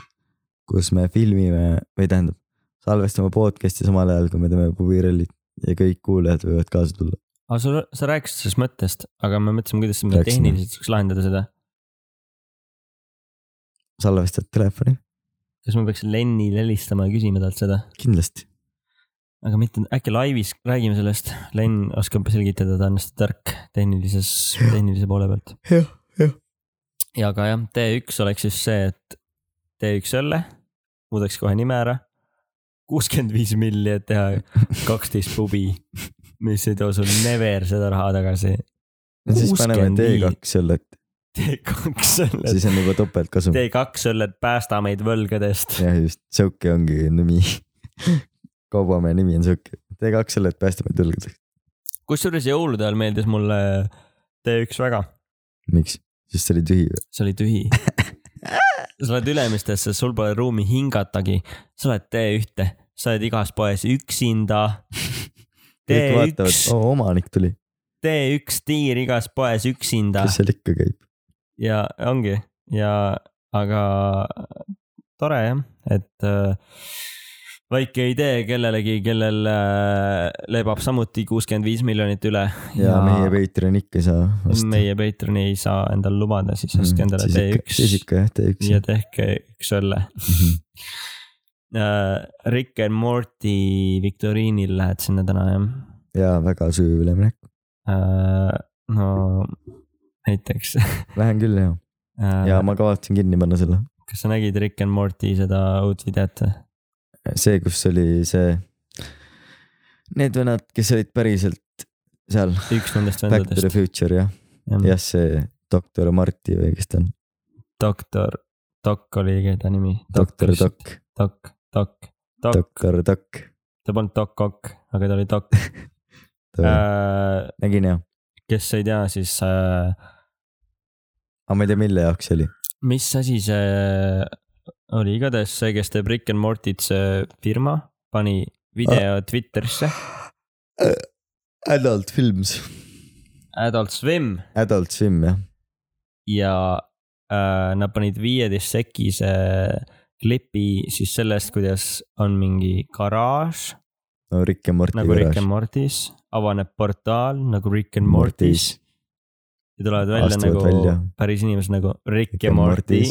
S1: kus me filmime või tähendab , salvestame podcast'i samal ajal , kui me teeme pubirallit ja kõik kuulajad võivad kaasa tulla .
S2: aga sa , sa rääkisid sellest mõttest , aga me mõtlesime , kuidas me
S1: Rääkisime.
S2: tehniliselt saaks lahendada seda .
S1: salvestad telefoni ?
S2: kas me peaks Lennile helistama ja küsima talt seda ?
S1: kindlasti .
S2: aga mitte , äkki laivis räägime sellest , Len oskab selgitada , ta on hästi tark tehnilises , tehnilise poole pealt .
S1: jah , jah. .
S2: ja aga jah , T1 oleks siis see , et T1 õlle , muudaks kohe nime ära . kuuskümmend viis milli , et teha kaksteist pubi , mis ei too sul never seda raha tagasi .
S1: no siis paneme T2 õllet ,
S2: T2 õlled ,
S1: siis on juba topeltkasum .
S2: T2 õlled päästa meid võlgadest .
S1: jah , just , Sõuki ongi nimi . kaubamehe nimi on Sõuki . T2 õllet päästame tõlgedeks .
S2: kusjuures jõulude ajal meeldis mulle T1 väga
S1: miks ? sest see oli tühi või ?
S2: see oli tühi . sa oled Ülemistesse , sul pole ruumi hingatagi , sa oled tee ühte , sa oled igas poes üksinda . tee
S1: kõik vaatavad , oh.
S2: üks ,
S1: oo omanik tuli ,
S2: tee üks tiir igas poes üksinda
S1: kes seal ikka käib .
S2: ja ongi ja , aga tore jah , et äh, väike idee kellelegi , kellel äh, lebab samuti kuuskümmend viis miljonit üle
S1: ja, ja meie Patreon ikka ei saa osta .
S2: meie Patreoni ei saa endale lubada , siis ostke endale
S1: Mm, siis
S2: T1
S1: ikka jah , T1
S2: ja tehke üks õlle .
S1: Mhm.
S2: Rick and Morty viktoriinil lähed sinna täna jah
S1: ja väga sujuv üleminek .
S2: Äh, no näiteks
S1: Lähen küll jah , ja
S2: äh, .
S1: ma kavatsen kinni panna selle .
S2: kas sa nägid Rick and Morty seda uut videot või ?
S1: see , kus oli see , need vennad , kes olid päriselt seal ,
S2: üks nendest
S1: Back to the
S2: vendadest , Mm.
S1: future jah , jah see doktor Marti või kes ta on ,
S2: doktor , Doc oli õige ta nimi .
S1: doktor . Doc ,
S2: Doc , Doc , Doc ,
S1: doktor Doc .
S2: ta polnud Doc Ock , aga ta oli Doc . Äh.
S1: nägin jah ,
S2: kes ei tea , siis äh,
S1: aga ma ei tea , mille jaoks see oli .
S2: mis asi see äh, oli , igatahes see , kes teeb Rick and Morty't , see firma pani
S1: Ah.
S2: video Twitterisse ,
S1: Adult Films .
S2: Adult Swim
S1: Adult Swim jah ,
S2: ja äh, nad panid viieteist sekise äh, klipi siis sellest , kuidas on mingi garaaž
S1: no Rick ja Morty
S2: nagu Rick and Mortis , avaneb portaal nagu Rick and Mortis ja tulevad välja
S1: Astuvad
S2: nagu
S1: välja.
S2: päris inimesed nagu Rick ja Morty .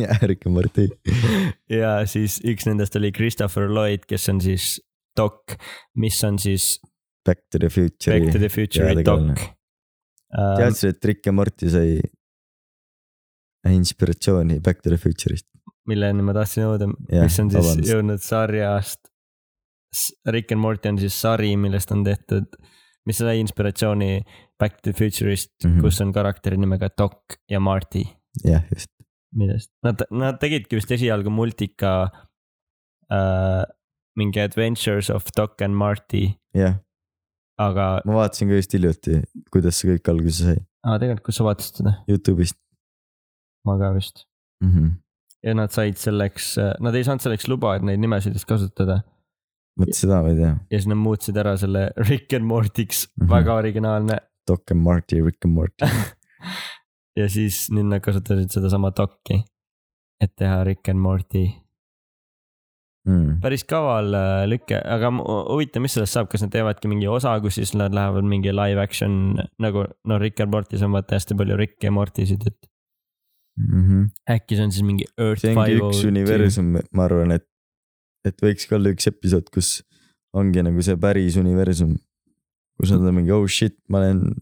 S1: jah , Rick ja Morty ,
S2: ja siis üks nendest oli Christopher Lloyd , kes on siis Doc , mis on siis
S1: Back to the
S2: Back to
S1: future'i .
S2: the Future'i
S1: tegelane.
S2: Doc . Ähm,
S1: teadsid , et Rick ja Morty sai inspiratsiooni Back to the future'ist ?
S2: milleni ma tahtsin jõuda ,
S1: Jah,
S2: mis on siis
S1: vabandust.
S2: jõudnud sarjast . Rick and Morty on siis sari , millest on tehtud , mis sai inspiratsiooni Back to the Future'ist mm ,
S1: Mhm.
S2: -hmm. kus on karakteri nimega Doc ja Marty ,
S1: jah , just .
S2: millest nad , nad tegidki vist esialgu multika äh, . mingi Adventures of Doc and Marty ,
S1: jah ,
S2: aga
S1: ma vaatasin ka just hiljuti , kuidas see kõik alguse sai ,
S2: ah, , tegelikult , kus sa vaatasid seda ?
S1: Youtube'ist
S2: ma ka vist .
S1: mm . -hmm.
S2: ja nad said selleks , nad ei saanud selleks luba , et neid nimesid vist kasutada
S1: vot seda ma ei tea ,
S2: ja siis nad muutsid ära selle Rick and Morty'ks mm ,
S1: Mhm.
S2: -hmm. väga originaalne .
S1: Doc and Marty , Rick and Morty ,
S2: ja siis nüüd nad kasutasid sedasama dokki , et teha Rick and Morty .
S1: Mm.
S2: päris kaval äh, lüke , aga mu- huvitav , mis sellest saab , kas nad teevadki mingi osa , kus siis nad lähevad mingi live action nagu no Rick and Morty's on vaata hästi palju Rick ja Morty'sid , et äkki see on siis mingi Earth
S1: Mhm. see ongi üks
S2: 502.
S1: universum , ma arvan , et , et võiks ka olla üks episood , kus ongi nagu see päris universum , kus nad on mingi oh shit , ma olen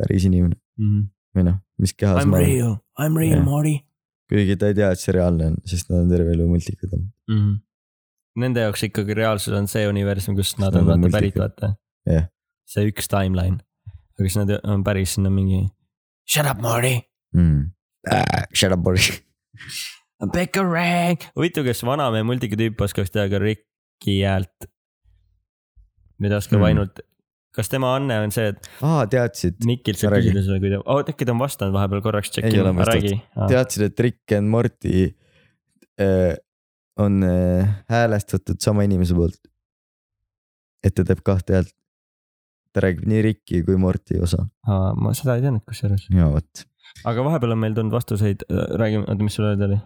S1: päris inimene
S2: Mhm.
S1: või noh , mis kehas
S2: I m
S1: ma olen ,
S2: real , I m real
S1: Jah.
S2: Morty
S1: kuigi ta ei tea , et see reaalne on , sest nad on terve elu multikad olnud ,
S2: mm . -hmm. Nende jaoks ikkagi reaalsus on see universum , kus nad
S1: Nad
S2: on
S1: on
S2: vaata
S1: multikad.
S2: pärit , vaata
S1: Jah.
S2: see üks timeline , aga siis nad on päris sinna mingi . Shut up , Marty ,
S1: mm. . Shut up , Boris .
S2: pick a rank . huvitav , kas vanamehe multika tüüp oskaks teha ka Ricky häält ? või ta oskab
S1: Mm.
S2: mm. ainult , kas tema anne on see , et
S1: aa , Ah, teadsid ,
S2: Mikilt saab
S1: Ma räägin.
S2: küsida sulle , kui ta , oota äkki ta on vastanud vahepeal korraks ,
S1: Ei
S2: tšekin
S1: ole , vastanud.
S2: räägi . Ah,
S1: teadsid , et Rick and Morty äh, on äh, häälestatud sama inimese poolt . et ta teeb kahte häält . ta räägib nii Ricki kui Morty osa .
S2: ma seda ei teadnud kusjuures ,
S1: ja vot ,
S2: aga vahepeal on meil tulnud vastuseid , räägime , oota , mis sul öelda oli ?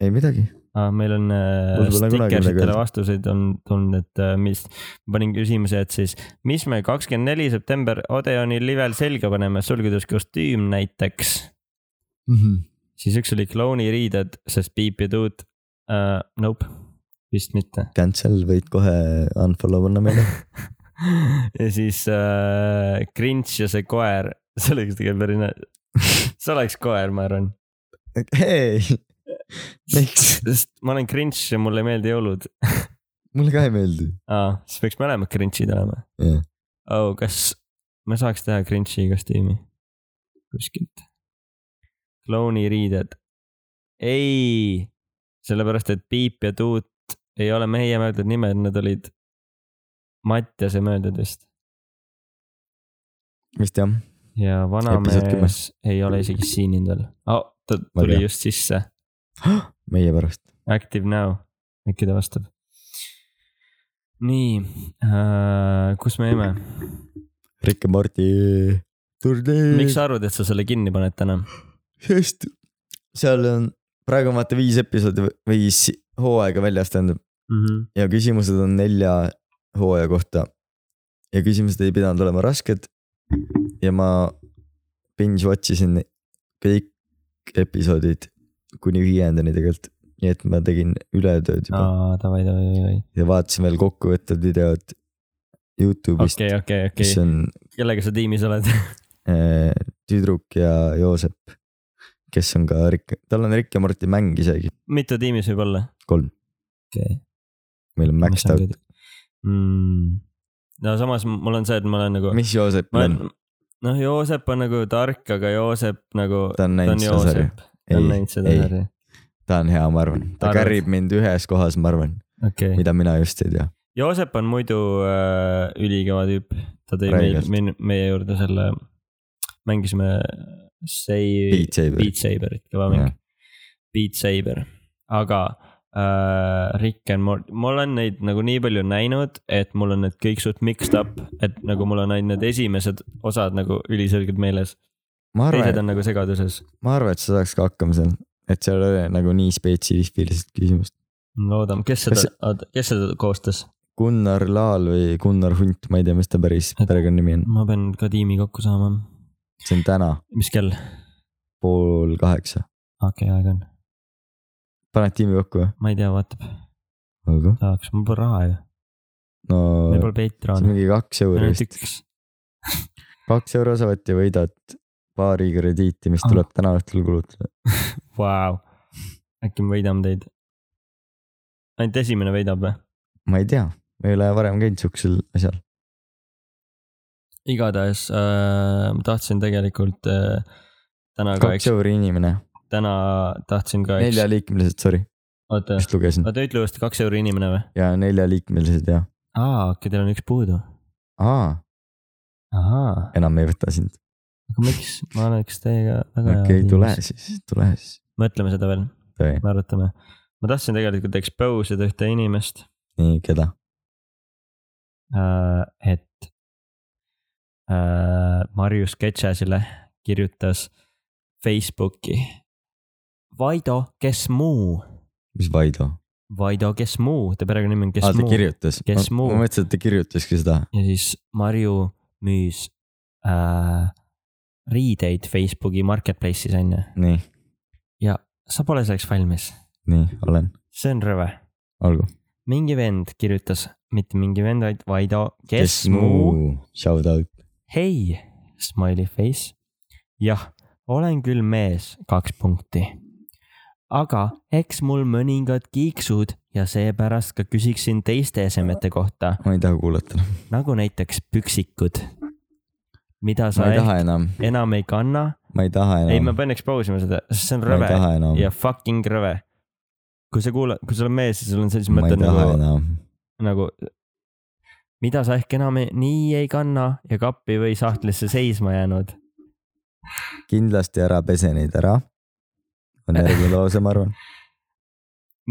S1: ei midagi .
S2: ah, . meil on äh,
S1: Mul pole kunagi midagi
S2: stickersitele
S1: öelda.
S2: vastuseid on tulnud , et äh, mis , ma panin küsimuse , et siis , mis me kakskümmend neli september Odeoni livel selga paneme , sulgudes kostüüm näiteks .
S1: Mhm.
S2: siis üks oli klouniriided , sest Piip ja Tuut uh, , nope , vist mitte .
S1: Cancel võid kohe unfollow panna meile .
S2: ja siis uh, Grinch ja see koer , see oleks tegelikult päris nä- , see oleks koer , ma arvan .
S1: hei , miks ?
S2: sest ma olen Grinch ja mulle ei meeldi jõulud
S1: mulle ka ei meeldi .
S2: ah, , siis peaks me olema cringe'id olema
S1: Jah. .
S2: Oh, kas me saaks teha cringe'i kostüümi kuskilt ? klouniriided . ei , sellepärast et Piip ja Tuut ei ole meie mõeldud nimed , need olid Mattiase mõeldud vist
S1: vist jah ,
S2: ja
S1: Episood kümme.
S2: vanamees ei ole isegi siin endal oh, . ta
S1: Ma ei
S2: tuli
S1: tea.
S2: just sisse ,
S1: meie pärast .
S2: active now , äkki ta vastab . nii äh, , kus me jäime ?
S1: Rick ja Morty turnee
S2: miks . sa arvad , et sa selle kinni paned täna ?
S1: sest seal on , praegu on vaata viis episoodi või- või si- hooaega väljas tähendab ja küsimused on nelja hooaja kohta . ja küsimused ei pidanud olema rasked . ja ma binge watch isin kõik episoodid kuni viiendani tegelikult , nii et ma tegin ületööd juba no.
S2: aa , davai , davai , davai .
S1: ja vaatasin veel kokkuvõtted videod Youtube'ist okay, ,
S2: okei , okei ,
S1: okay. mis
S2: okei .
S1: on
S2: kellega sa tiimis oled ?
S1: äh, tüdruk ja Joosep , kes on ka Rick , tal on Rick ja Morty mäng isegi ,
S2: mitu tiimis võib olla ?
S1: kolm ,
S2: okei .
S1: meil on Max Out .
S2: mm. . no samas m- mul on see , et ma olen nagu ,
S1: mis
S2: ma
S1: Joosepil
S2: olen
S1: on ?,
S2: noh , Joosep on nagu tark , aga Joosep nagu ,
S1: ta on
S2: ta on
S1: näinud seda sarja ?
S2: Joosep . ta on näinud seda
S1: ei.
S2: sarja .
S1: ta on hea , ma arvan , ta
S2: Mm, Arvad?
S1: carry b mind ühes kohas , ma arvan ,
S2: okei okay. ,
S1: mida mina just ei tea .
S2: Joosep on muidu äh, ülikõva tüüp , ta tõi meil,
S1: Räigelt.
S2: meil, meie juurde selle , mängisime Sei- ,
S1: Beat Saber ,
S2: Beat Saberit , kõva mäng
S1: Jah. .
S2: Beat Saber , aga äh, Rick and Mort- , ma olen neid nagu nii palju näinud , et mul on need kõik suht mixed up , et nagu mul on ainult need esimesed osad nagu üliselgelt meeles ,
S1: ma
S2: teised
S1: arvan ,
S2: on nagu segaduses .
S1: ma arvan , et sa saaks ka hakkama seal , et seal ei ole nagu nii spetsiifiliselt küsimust .
S2: loodame , kes seda
S1: Kas- ,
S2: kes seda koostas ?
S1: Gunnar Laal või Gunnar Hunt , ma ei tea , mis ta päris perekonnanimi on ,
S2: ma pean ka tiimi kokku saama .
S1: see on täna
S2: mis kell ?
S1: pool kaheksa .
S2: okei okay, , aeg on ,
S1: paned tiimi kokku või ?
S2: ma ei tea , vaatab ,
S1: olgu ,
S2: tahaks , mul pole raha ju ,
S1: no
S2: meil pole
S1: see on
S2: Patreon'i ,
S1: mingi kaks euri
S2: ainult
S1: vist ,
S2: üks .
S1: kaks euro sa võtad ja võidad paari krediiti ,
S2: Ah.
S1: mis tuleb täna õhtul kulutada .
S2: Vau , äkki me võidame teid ? ainult esimene võidab või ?
S1: ma ei tea , ma ei ole varem käinud siuksel asjal .
S2: igatahes äh, ma tahtsin tegelikult äh, täna ka ,
S1: kaks
S2: eks ,
S1: euri inimene ,
S2: täna tahtsin ka , eks ,
S1: neljaliikmelised , sorry ,
S2: oota ,
S1: just lugesin .
S2: oota ütle uuesti , kaks euri inimene või ?
S1: ja neljaliikmelised ja ,
S2: aa , okei , teil on üks puudu .
S1: aa ,
S2: ahaa ,
S1: enam ei võta sind ,
S2: aga miks , ma oleks teiega
S1: okei
S2: väga hea
S1: okay, ,
S2: tiimis.
S1: tule siis , tule siis .
S2: mõtleme seda veel , me arutame . ma tahtsin tegelikult expose ida ühte inimest
S1: nii , keda ?
S2: äh, , et äh, Marius Ketšasile kirjutas Facebooki Vaido , kes muu
S1: mis Vaido ?
S2: Vaido , kes muu , ta perekonnanimi on kes
S1: aa , ta
S2: muu
S1: kirjutas .
S2: Kes muu?
S1: ma mõtlesin , et ta kirjutaski seda .
S2: ja siis Marju müüs äh, riideid Facebooki marketplace'is onju .
S1: nii ,
S2: sa pole selleks valmis ,
S1: nii , olen ,
S2: see on rõve .
S1: olgu .
S2: mingi vend kirjutas , mitte mingi vend , vaid Vaido , kes muu ,?
S1: Shout out .
S2: hei , smiley face . jah , olen küll mees , kaks punkti . aga eks mul mõningad kiiksud ja seepärast ka küsiksin teiste esemete kohta .
S1: ma ei taha kuulata ,
S2: nagu näiteks püksikud , mida sa
S1: ma ei
S2: ehk
S1: taha enam ,
S2: enam ei kanna .
S1: ma ei taha
S2: ei , ma
S1: enam ,
S2: pean expose ima seda , sest see on
S1: ma ei
S2: rõve
S1: taha enam ,
S2: ja fucking rõve . kui sa kuulad , kui sa oled mees ja sul on sellised
S1: ma ei
S2: mõtted
S1: taha
S2: nagu ,
S1: enam .
S2: nagu mida sa ehk enam ei, nii ei kanna ja kappi või sahtlisse seisma jäänud .
S1: kindlasti ära pese neid ära . on järgmine lause , ma arvan .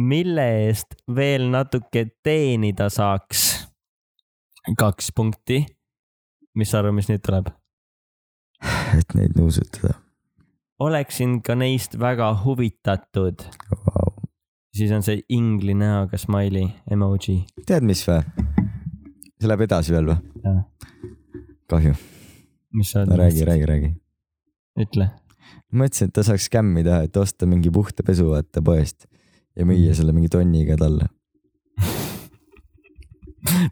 S2: mille eest veel natuke teenida saaks ? kaks punkti . mis sa arvad , mis nüüd tuleb ?
S1: et neid nuusutada
S2: oleksin ka neist väga huvitatud
S1: wow. .
S2: siis on see ingli näoga smiley emoji .
S1: tead , mis vä ? see läheb edasi veel vä
S2: Jah. ?
S1: kahju ,
S2: mis sa
S1: no räägi , räägi , räägi .
S2: ütle .
S1: mõtlesin , et ta saaks skämmi teha , et osta mingi puhta pesu vaata poest ja müüa selle mingi tonniga talle .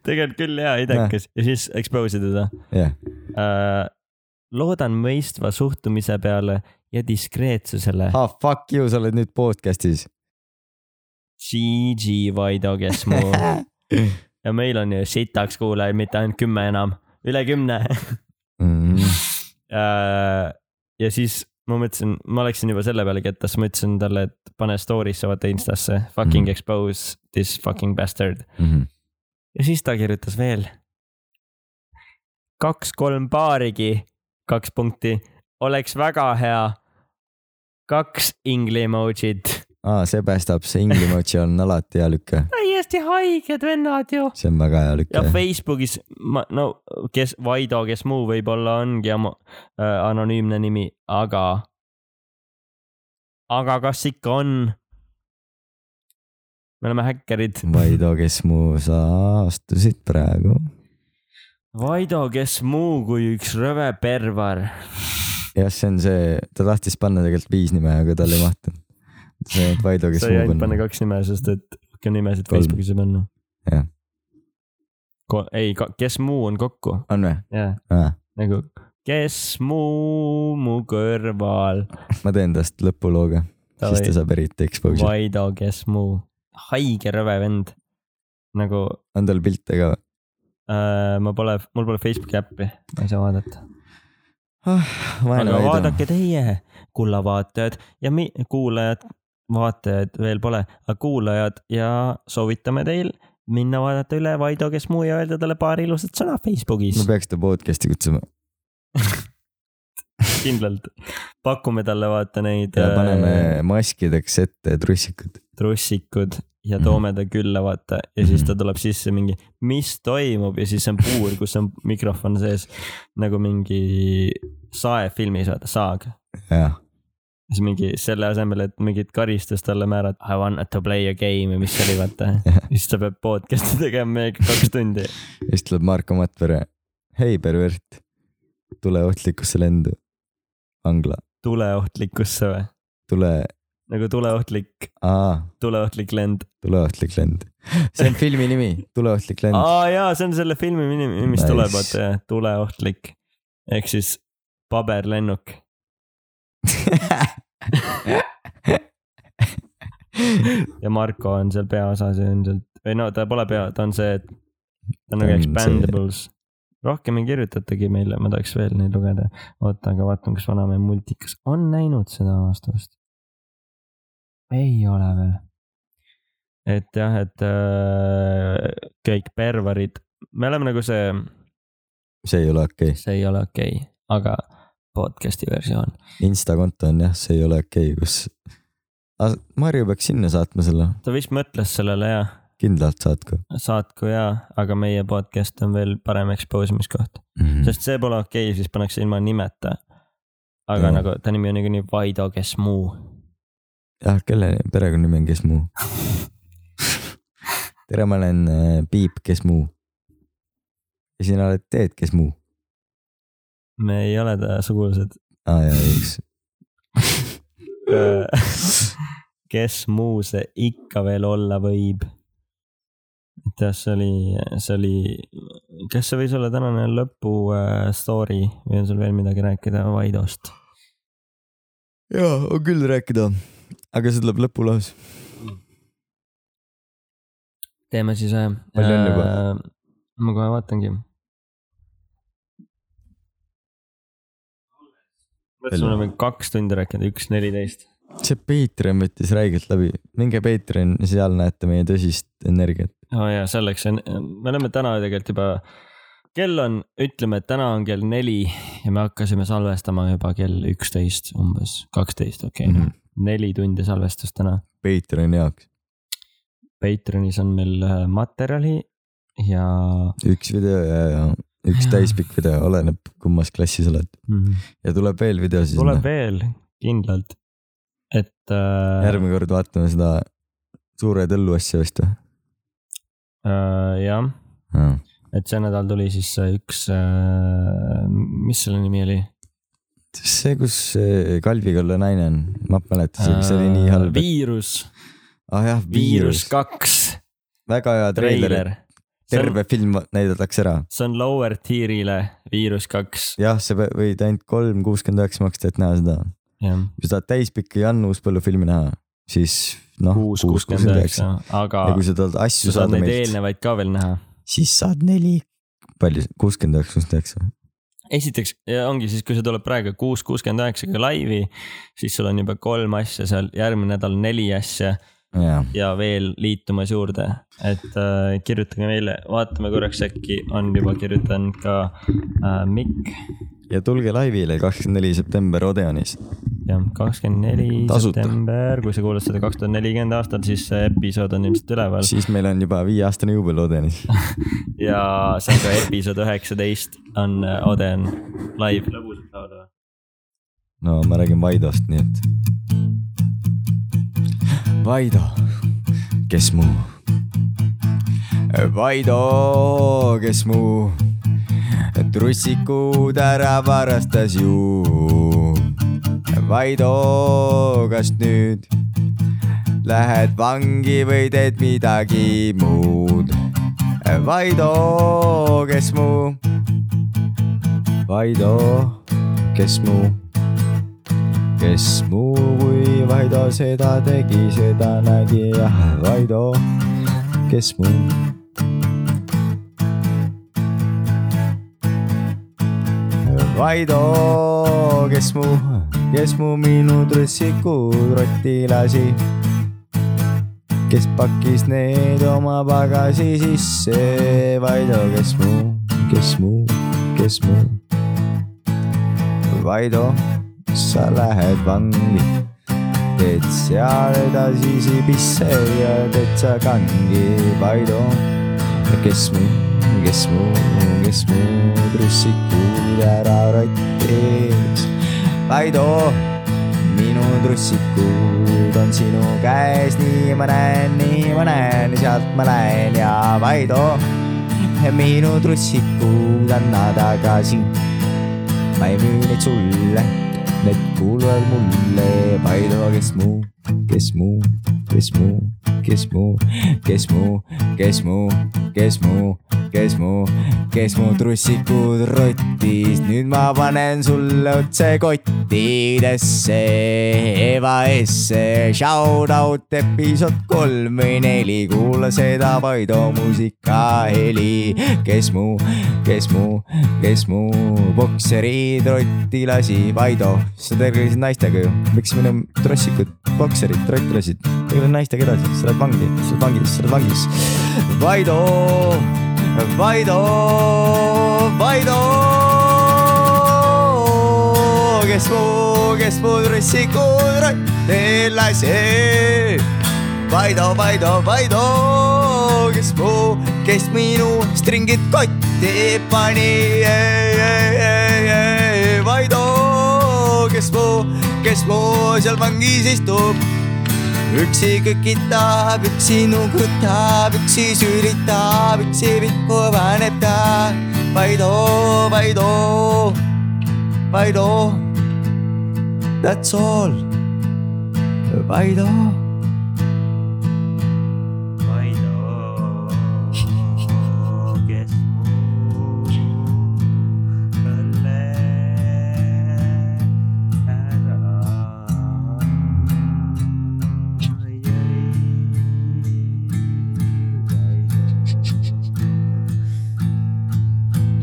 S2: tegelikult küll hea idekas ja siis expose ida
S1: jah ,
S2: uh, . loodan mõistva suhtumise peale ja diskreetsusele .
S1: ah fuck you , sa oled nüüd podcast'is .
S2: GG Vaido , kes mu ja meil on ju sitaks kuulajaid , mitte ainult kümme enam , üle kümne
S1: Mhm.
S2: Äh, ja siis ma mõtlesin , ma läksin juba selle peale kettas , ma ütlesin talle , et pane story'sse , vaata instasse , fucking
S1: Mhm.
S2: expose this fucking bastard . ja siis ta kirjutas veel . kaks-kolm paarigi , kaks punkti , oleks väga hea . kaks ingli emoji't .
S1: aa , Ah, see päästab , see Inglimoji on alati hea lüke ,
S2: täiesti haiged vennad ju .
S1: see on väga hea
S2: ja
S1: lüke .
S2: Facebookis , ma , no kes , Vaido , kes muu võib-olla ongi am- äh, anonüümne nimi , aga . aga kas ikka on ? me oleme häkkerid .
S1: Vaido , kes mu sa astusid praegu .
S2: Vaido , kes muu kui üks rõve pervar .
S1: jah , see on see , ta tahtis panna tegelikult viis nime , aga tal ei mahtunud . see , et Vaido , kes
S2: sai
S1: muu
S2: ainult panna
S1: panna .
S2: kaks nime , sest et rohkem nimesid
S1: Kolm.
S2: Facebookis ei panna .
S1: Jah. .
S2: ei , kes muu on kokku ,
S1: on või ?
S2: jah ,
S1: Äh.
S2: nagu kes muu mu kõrval .
S1: ma teen tast lõpulooga , siis ta saab eriti expose'i .
S2: Vaido , kes muu , haige rõve vend . nagu
S1: on tal pilte ka või ?
S2: äh, ma pole , mul pole Facebooki äppi , ma ei saa vaadata .
S1: vaene
S2: aga
S1: Vaido .
S2: vaadake teie , kullavaatajad ja mi- , kuulajad , vaatajad veel pole , aga kuulajad ja soovitame teil minna vaadata üle Vaido , kes muu ja öelda talle paar ilusat sõna Facebookis
S1: ma peaks ta podcast'i kutsuma
S2: kindlalt . pakume talle vaata neid
S1: ja
S2: äh,
S1: paneme maskideks ette trussikud .
S2: trussikud ja
S1: Mhm.
S2: toome ta külla , vaata , ja siis
S1: Mhm.
S2: ta tuleb sisse mingi , mis toimub ja siis on puur , kus on mikrofon sees nagu mingi saefilmis , vaata , saag .
S1: jah ,
S2: siis mingi selle asemel , et mingit karistust talle määrata , I want to play a game ja mis see oli , vaata . siis ta peab podcast'i tegema meiega kaks tundi .
S1: ja siis tuleb Marko Matvere . hei , pervert , tule ohtlikusse lendu . vangla ,
S2: tuleohtlikusse või ?
S1: tule ,
S2: nagu tuleohtlik ,
S1: aa ,
S2: tuleohtlik lend .
S1: tule ohtlik lend . see on filmi nimi , Tule ohtlik lend .
S2: aa jaa , see on selle filmi nimi , mis
S1: Nice.
S2: tuleb , vaata jah , tuleohtlik . ehk siis paberlennuk . ja Marko on seal peaosas ilmselt , või no ta pole pea , ta on see , ta on
S1: Ta
S2: nagu
S1: on see-
S2: expandables . rohkem ei kirjutatagi meile , ma tahaks veel neid lugeda . oota , aga vaatan , kas vanamehe multikas on näinud seda vastust . ei ole veel . et jah , et äh, kõik perverid , me oleme nagu see ,
S1: see ei ole okei okay. ,
S2: see ei ole okei okay, , aga podcast'i versioon .
S1: Insta konto on jah , see ei ole okei okay, , kus . Marju peaks sinna saatma selle ,
S2: ta vist mõtles sellele ja
S1: kindlalt saatku
S2: saatku ja , aga meie podcast on veel parem expose imiskoht .
S1: mm. .
S2: sest see pole okei okay, , siis pannakse ilma nimeta . aga
S1: Jaa.
S2: ja. nagu ta nimi on niikuinii Vaido , kes muu .
S1: jah , Ah, kelle perekonnanimi on Kes muu ? tere , ma olen äh, Piip , Kes muu ? ja sina oled Teet , Kes muu ?
S2: me ei ole ta sugulased .
S1: aa Ah, jaa , õigus .
S2: kes muu see ikka veel olla võib ? et jah , see oli , see oli , kas see võis olla tänane lõpu äh, story või on sul veel midagi rääkida Vaidost ?
S1: jaa , on küll rääkida , aga see tuleb lõpulaus .
S2: teeme siis äh, .
S1: Palju on juba? ?
S2: ma kohe vaatangi . mõtlesin , me oleme kaks tundi rääkinud , üks neliteist .
S1: see Patreon võttis räigelt läbi , minge Patreoni , seal näete meie tõsist energiat .
S2: oo oh jaa , selleks on , me oleme täna tegelikult juba , kell on , ütleme , et täna on kell neli ja me hakkasime salvestama juba kell üksteist umbes , kaksteist , okei
S1: Mhm.
S2: okay, mm -hmm. , neli tundi salvestust täna .
S1: Patreoni jaoks ,
S2: Patreonis on meil äh, materjali ja
S1: üks video ja , ja üks
S2: Jaa.
S1: täispikk video , oleneb kummas klassis oled
S2: mm -hmm.
S1: ja tuleb veel video siis .
S2: tuleb veel kindlalt , et äh,
S1: järgmine kord vaatame seda suure tõllu asja vist või ?
S2: äh, jah , et see nädal tuli siis see üks äh, , mis selle nimi oli ?
S1: see , kus see Kalvikolla naine on , ma mäletan , see , see oli nii halb .
S2: viirus ,
S1: ah jah ,
S2: viirus
S1: viirus ,
S2: kaks ,
S1: väga hea treiler ,
S2: treiler .
S1: terve film näidatakse ära .
S2: see on lower tier'ile Viirus kaks ,
S1: jah , sa pea- võid ainult kolm kuuskümmend üheksa maksta , et näha seda .
S2: jah .
S1: kui sa tahad täispikki Jan Uuspõllu filmi näha , siis noh ,
S2: kuus kuuskümmend üheksa , aga
S1: ja kui sa tahad asju
S2: sa saad
S1: saada
S2: neid
S1: meilt ,
S2: eelnevaid ka veel näha .
S1: siis saad neli , palju , kuuskümmend üheksa , kuuskümmend üheksa .
S2: esiteks ja ongi siis , kui see tuleb praegu kuus kuuskümmend üheksaga laivi , siis sul on juba kolm asja seal , järgmine nädal neli asja
S1: jah ,
S2: ja veel liitumas juurde , et äh, kirjutage meile , vaatame korraks , äkki on juba kirjutanud ka äh, Mikk ,
S1: ja tulge laivile kakskümmend neli september Odeonis .
S2: jah , kakskümmend neli
S1: Tasuta.
S2: september , kui sa kuulad seda kaks tuhat nelikümmend aastal , siis see episood on ilmselt üleval
S1: siis meil on juba viieaastane juubel Odeonis .
S2: ja see on ka episood üheksateist on äh, Oden live . lõbusalt laulda .
S1: no ma räägin Vaidost , nii et . Vaido , kes mu ? Vaido , kes mu trussikud ära varastas ju . Vaido , kas nüüd lähed vangi või teed midagi muud ? Vaido , kes mu , Vaido , kes mu kes muu kui Vaido seda tegi , seda nägi jah , Vaido , kes muu . Vaido , kes mu , kes mu minu dressikud rotti lasi , kes pakkis need oma pagasi sisse , Vaido , kes mu , kes mu , kes mu , Vaido sa lähed vangi , teed seal edasi sibisse ja teed sa kangi , Vaido . kes mu , kes mu , kes mu trussikud ära rottis . Vaido , minu trussikud on sinu käes , nii ma näen , nii ma näen , sealt ma näen ja Vaido , minu trussikud anna tagasi . ma ei müü neid sulle need kuuluvad mulle , Vaido , kes mu , kes mu , kes mu , kes mu , kes mu , kes mu , kes mu , kes mu , kes mu trussikud rottis , nüüd ma panen sulle otse kottidesse , Eva esse , shout out episood kolm või neli , kuula seda Vaido muusikaheli , kes mu , kes mu , kes mu bokserid rotti lasi , Vaido , sa tegelesid naistega ju , miks minu trossikud bokserid rotti lasid , tegele naistega edasi , sa oled vangi , sa oled vangis , sa oled vangis . Vaido , Vaido , Vaido , kes mu , kes mu trossikud rotti lasi Vaido , Vaido , Vaido , kes mu , kes minu stringid kotti pani . Vaido , kes mu , kes mu seal vangis istub . üksi kükitab , üksi nugutab , üksi süülitab , üksi pikku paneb ta . Vaido , Vaido , Vaido , that's all , Vaido Vaido , kes mu õlle ära jõi .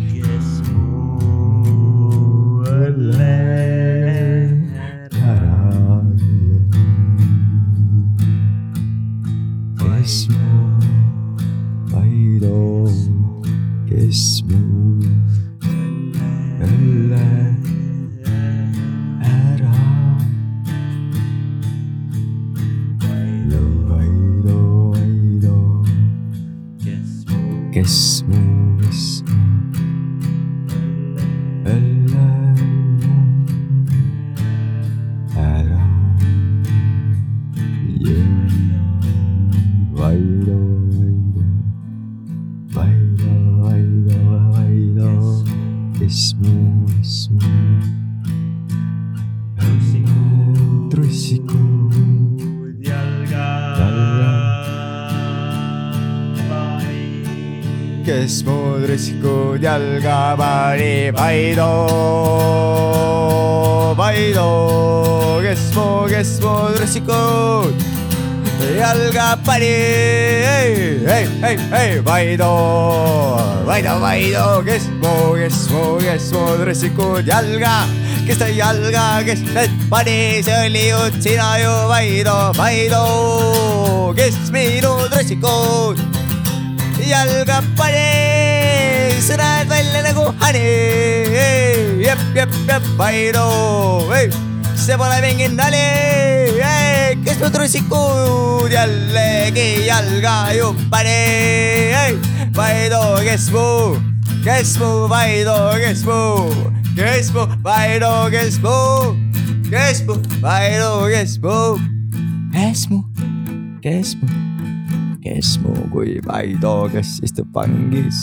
S1: kes mu õlle ära kes mu , Vaido , kes mu õlle ära . Vaido , Vaido , Vaido , kes mu , kes mu õlle ära jõi . Vaido , Vaido , Vaido , Vaido , Vaido , kes mu , kes mu . trussiku . kes mu trussikud jalga pani , Vaido , Vaido , kes mu , kes mu trussikud jalga pani , ei , ei , ei , ei , Vaido , Vaido , Vaido , kes mu , kes mu , kes mu dressikud jalga , kes ta jalga , kes need pani , see oli ju sina ju , Vaido , Vaido , kes minu dressikud jalga pani , sa näed välja nagu hani , jep , jep , jep , Vaido , ei , see pole mingi nali , kes mu trussikud jällegi jalga ju pani , Vaido , kes mu , kes mu , Vaido , kes mu , kes mu , Vaido , kes mu , kes mu , Vaido , kes mu , kes mu , kes mu , kes muu kui Vaido , kes istub vangis .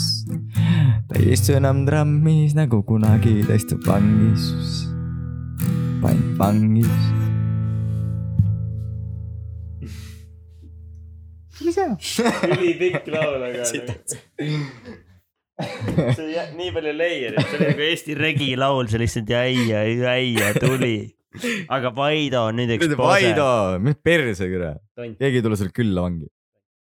S1: ta ei istu enam trammis nagu kunagi , ta istub vangis . pantvangis .
S2: ülipikk Nagu laul , aga . see oli jah- nii palju layer'id , see oli nagu Eesti regi laul , see lihtsalt jäi ja jäi ja tuli . aga Vaido on nüüd üks .
S1: Vaido , mis perse kurat ,
S2: tont ,
S1: keegi ei tule sulle külla vangi .